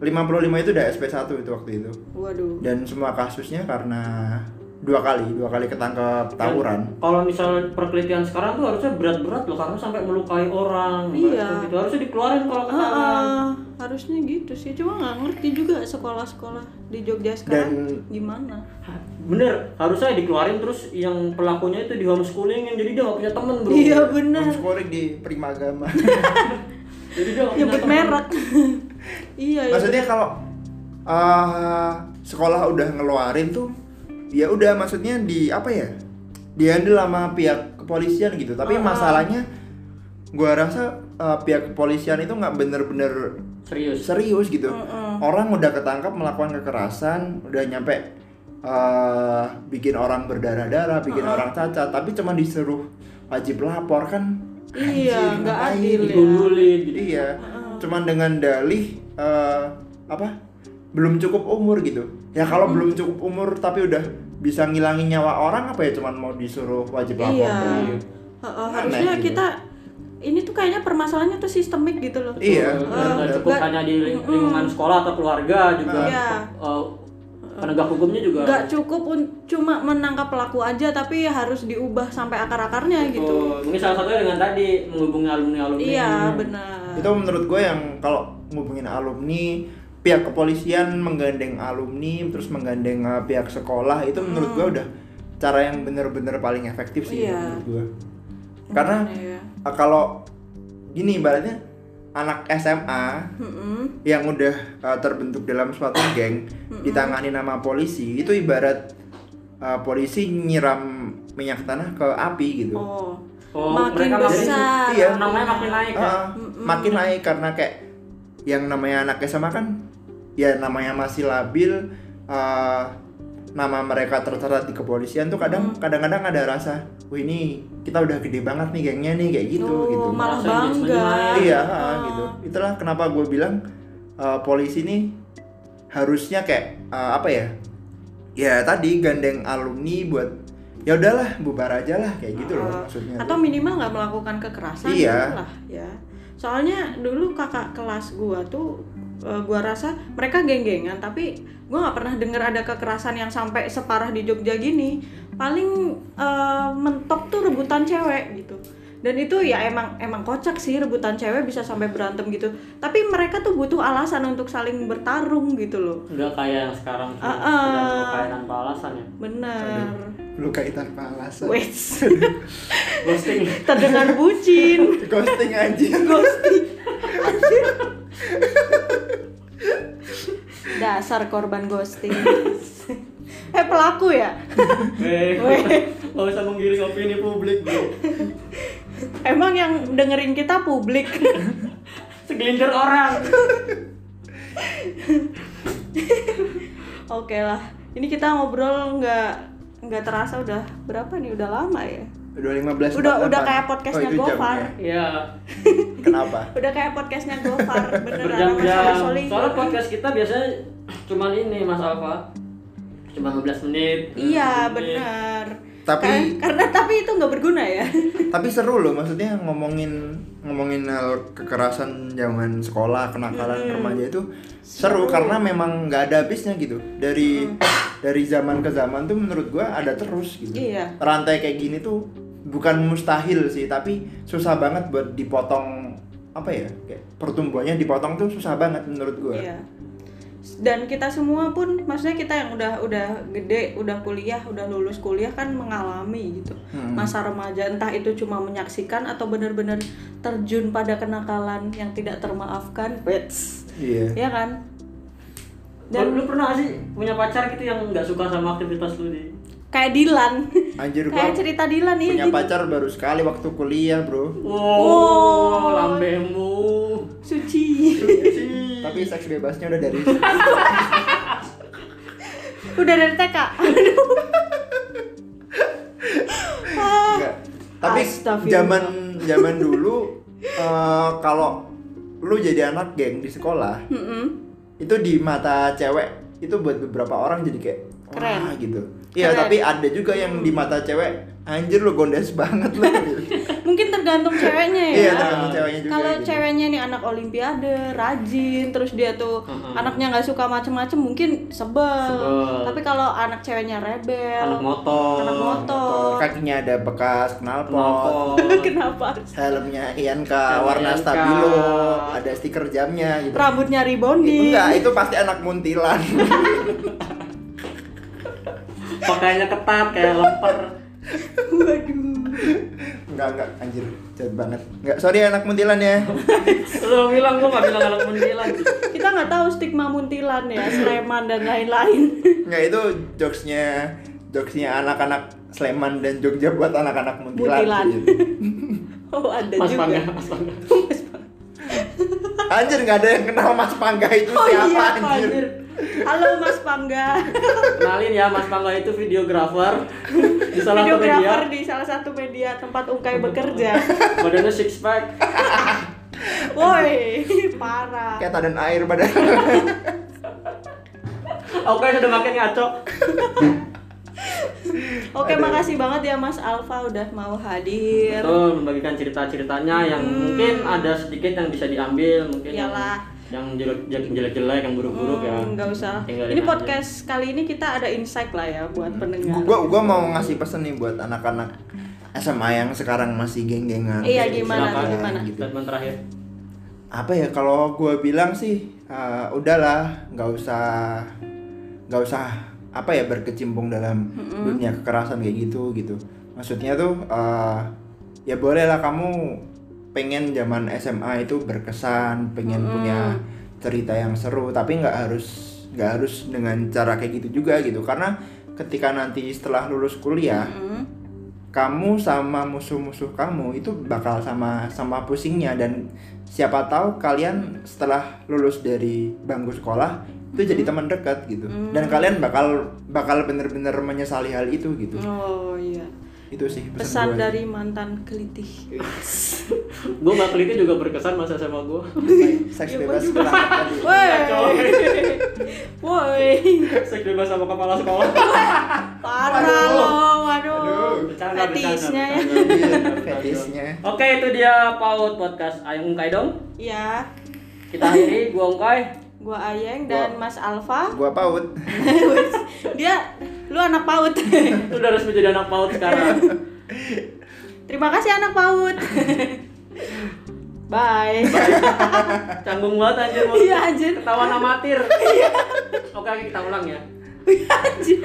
55 itu udah SP1 itu waktu itu Waduh. dan semua kasusnya karena dua kali dua kali ketangkep tawuran Dan Kalau misalnya perkelitian sekarang tuh harusnya berat-berat loh karena sampai melukai orang. Iya. Itu harusnya dikeluarin kalau Ah, ketahuan. ah, harusnya gitu sih. Cuma nggak ngerti juga sekolah-sekolah di Jogja Dan- sekarang gimana. Hah, Bener, harusnya dikeluarin terus yang pelakunya itu di homeschoolingin jadi dia gak punya temen bro. Iya benar. homeschooling di prima agama Jadi dia nggak punya Nyebut temen. merek. iya, iya. maksudnya kalau eh, sekolah udah ngeluarin tuh ya udah maksudnya di apa ya dihandle sama pihak kepolisian gitu tapi masalahnya gua rasa eh, pihak kepolisian itu nggak bener-bener Serius. serius gitu orang udah ketangkap melakukan kekerasan udah nyampe eh, bikin orang berdarah-darah bikin orang cacat tapi cuma disuruh wajib lapor kan Iya, anjir, nggak ngapain adil gitu. ya. Digundulin gitu. Iya, cuman dengan dalih eh, apa? Belum cukup umur gitu. Ya kalau belum cukup umur tapi udah bisa ngilangin nyawa orang apa ya cuman mau disuruh wajib lapor. Iya. doang. Ah, ah, Aneh harusnya gitu. kita ini tuh kayaknya permasalahannya tuh sistemik gitu loh. Iya. benar, Betul, Eh, nggak benar. cukup Nggak- hanya di ling- lingkungan sekolah atau keluarga juga. Iya. eh, penegak hukumnya juga. Nggak cukup un- cuma menangkap pelaku aja tapi harus diubah sampai akar-akarnya gitu. Betul. Mungkin Oh, salah satunya dengan tadi menghubungi alumni-alumni. Iya, benar. Itu menurut gue yang kalau ngubungin alumni pihak kepolisian menggandeng alumni terus menggandeng eh, pihak sekolah itu menurut gue udah cara yang bener-bener paling efektif sih Iya. menurut gue. Karena Iya. eh, kalau gini ibaratnya anak SMA Mm-mm. yang udah uh, terbentuk dalam suatu geng ditangani nama polisi itu ibarat uh, polisi nyiram minyak tanah ke api gitu. Oh. Oh, makin mereka makin- besar. Iya. Namanya makin naik ya. Ah, makin naik karena kayak yang namanya anak SMA kan ya namanya masih labil uh, nama mereka tertera di kepolisian tuh kadang kadang-kadang ada rasa, "Wih, ini kita udah gede banget nih gengnya nih kayak gitu" Oh, gitu. malah Merasa engagementnya bangga. naik. iya ah, gitu itulah kenapa gue bilang uh, polisi ini harusnya kayak uh, apa ya ya tadi gandeng alumni buat ya udahlah bubar aja lah kayak gitu loh maksudnya atau minimal nggak melakukan kekerasan Iya. gitu lah ya soalnya dulu kakak kelas gua tuh eh, gua rasa mereka geng-gengan tapi gua nggak pernah dengar ada kekerasan yang sampai separah di Jogja gini paling eh, mentok tuh rebutan cewek gitu dan itu ya emang emang kocak sih rebutan cewek bisa sampai berantem gitu tapi mereka tuh butuh alasan untuk saling bertarung gitu loh Enggak kayak yang sekarang. Ah, ah. kayak tanpa alasan ya. bener luka tanpa alasan Wes, Ghosting. terdengar bucin ghosting aja ghosting Anjir. dasar korban ghosting eh pelaku ya Weh, Eh. nggak usah menggiring opini publik, bro. emang yang dengerin kita publik Segelintir orang. oke lah ini kita ngobrol nggak nggak terasa udah berapa nih udah lama ya udah 15 Udah- 48. udah kayak podcastnya itu jam Gofar. ya? Iya. kenapa udah kayak podcastnya Gofar beneran Berjam-jam. solid Soalnya podcast kita biasanya cuman ini, Mas Alfa. Cuma 15 menit. iya 15 menit. bener Tapi- Kar- karena tapi itu nggak berguna ya tapi seru loh maksudnya ngomongin ngomongin hal kekerasan zaman sekolah kenakalan remaja itu seru karena memang nggak ada habisnya gitu dari Mm. dari zaman ke zaman tuh menurut gua ada terus gitu Iya. rantai kayak gini tuh bukan mustahil sih tapi susah banget buat dipotong apa ya kayak pertumbuhannya dipotong tuh susah banget menurut gua Iya. Dan kita semua pun, maksudnya kita yang udah udah gede, udah kuliah, udah lulus kuliah kan mengalami gitu Hmm. masa remaja. Entah itu cuma menyaksikan atau benar-benar terjun pada kenakalan yang tidak termaafkan. Wets, iya ya kan? Dan lu pernah nggak sih punya pacar gitu yang nggak suka sama aktivitas lu di Kayak Dilan, anjir gua kayak cerita Dilan iya punya gitu. pacar baru sekali waktu kuliah bro Wow, lambemu. Suci. Hmm. tapi seks bebasnya udah dari udah dari TK. Aduh. Ah. Enggak. Tapi Astagfirullah. zaman zaman dulu eh, kalau lu jadi anak geng di sekolah Mm-mm. itu di mata cewek itu buat beberapa orang jadi kayak Keren. wah gitu Iya Keren. tapi ada juga yang di mata cewek anjir lu gondes banget lu gitu. Mungkin tergantung ceweknya ya. iya tergantung ceweknya juga Kalau gitu. ceweknya nih anak olimpiade, rajin, terus dia tuh Mm-mm. anaknya nggak suka macem-macem mungkin sebel. Sebel. Tapi kalau anak ceweknya anak rebel, motor Kan- anak motor, kakinya ada bekas knalpot knalpot. kenapa? helmnya INK Helm warna INK. stabilo ada stiker jamnya gitu Rambutnya rebonding. Iya, enggak itu pasti anak muntilan pakaiannya ketat kayak lemper Waduh. enggak enggak anjir jahat banget enggak sorry ya anak muntilan ya lu bilang gua nggak bilang anak muntilan Kita nggak tahu stigma muntilan ya, Sleman dan lain-lain. enggak itu jokesnya jokesnya anak-anak Sleman dan Jogja buat anak-anak muntilan, Muntilan. gitu. Oh, ada mas juga. pangga mas pangga anjir nggak ada yang kenal Mas Pangga itu Oh siapa iya, Pak anjir Anjir. Halo Mas Pangga. kenalin ya mas pangga itu videografer di salah satu media Videografer di salah satu media tempat Ungkai bekerja. badannya six pack Woi, parah. Ya, kayak tadan air badan Iya. oke sudah makin ngaco Oke, Aduh. makasih banget ya Mas Alfa udah mau hadir. betul membagikan cerita ceritanya yang mungkin ada sedikit yang bisa diambil mungkin yang Hmm. Iyalah. yang jelek jelek jelek yang buruk buruk ya Hmm, nggak usah. Tinggalin Ini aja. Hmm. podcast kali ini kita ada insight lah ya buat pendengar. gua gua mau ngasih pesan nih buat anak-anak SMA yang sekarang masih geng-gengan Iya, Gitu. gimana, Silakan, gimana? gitu. statement terakhir apa ya kalau gue bilang sih eh, udahlah nggak usah nggak usah apa ya berkecimpung dalam dunia kekerasan kayak gitu gitu maksudnya tuh eh, ya bolehlah kamu pengen zaman SMA itu berkesan pengen punya cerita yang seru tapi nggak harus nggak harus dengan cara kayak gitu juga gitu karena ketika nanti setelah lulus kuliah Hmm. kamu sama musuh-musuh kamu itu bakal sama sama pusingnya dan siapa tahu kalian setelah lulus dari bangku sekolah itu Hmm. jadi teman dekat gitu dan kalian bakal bakal bener-bener menyesali hal itu gitu Oh iya. itu sih pesan, Pesan gue dari mantan kelitih. gue nggak teliti juga berkesan masa SMA gue seks Iya, gua bebas juga. bilang tadi. Woi. Kacau. Woi. seks bebas sama kepala sekolah Parah Aduh. lo, waduh. bercanda bercanda, Fetisnya ya. bercanda, Iya, bercanda. fetisnya. oke itu dia PAUD podcast Ayung Ungkai dong Iya. kita akhiri gua Ungkai Gua Ayeng dan Mas Alfa. gua paut Dia lu anak PAUD. itu udah resmi jadi anak PAUD sekarang Terima kasih anak PAUD. Bye. canggung banget anjir mau Iya, anjir. Iya. ketahuan amatir oke kita ulang ya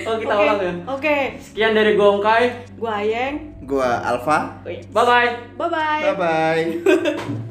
Oh, kita Oke, ulang ya? Oke. sekian dari gua Ungkai Gua Ayeng. gua alfa bye bye Bye bye. bye bye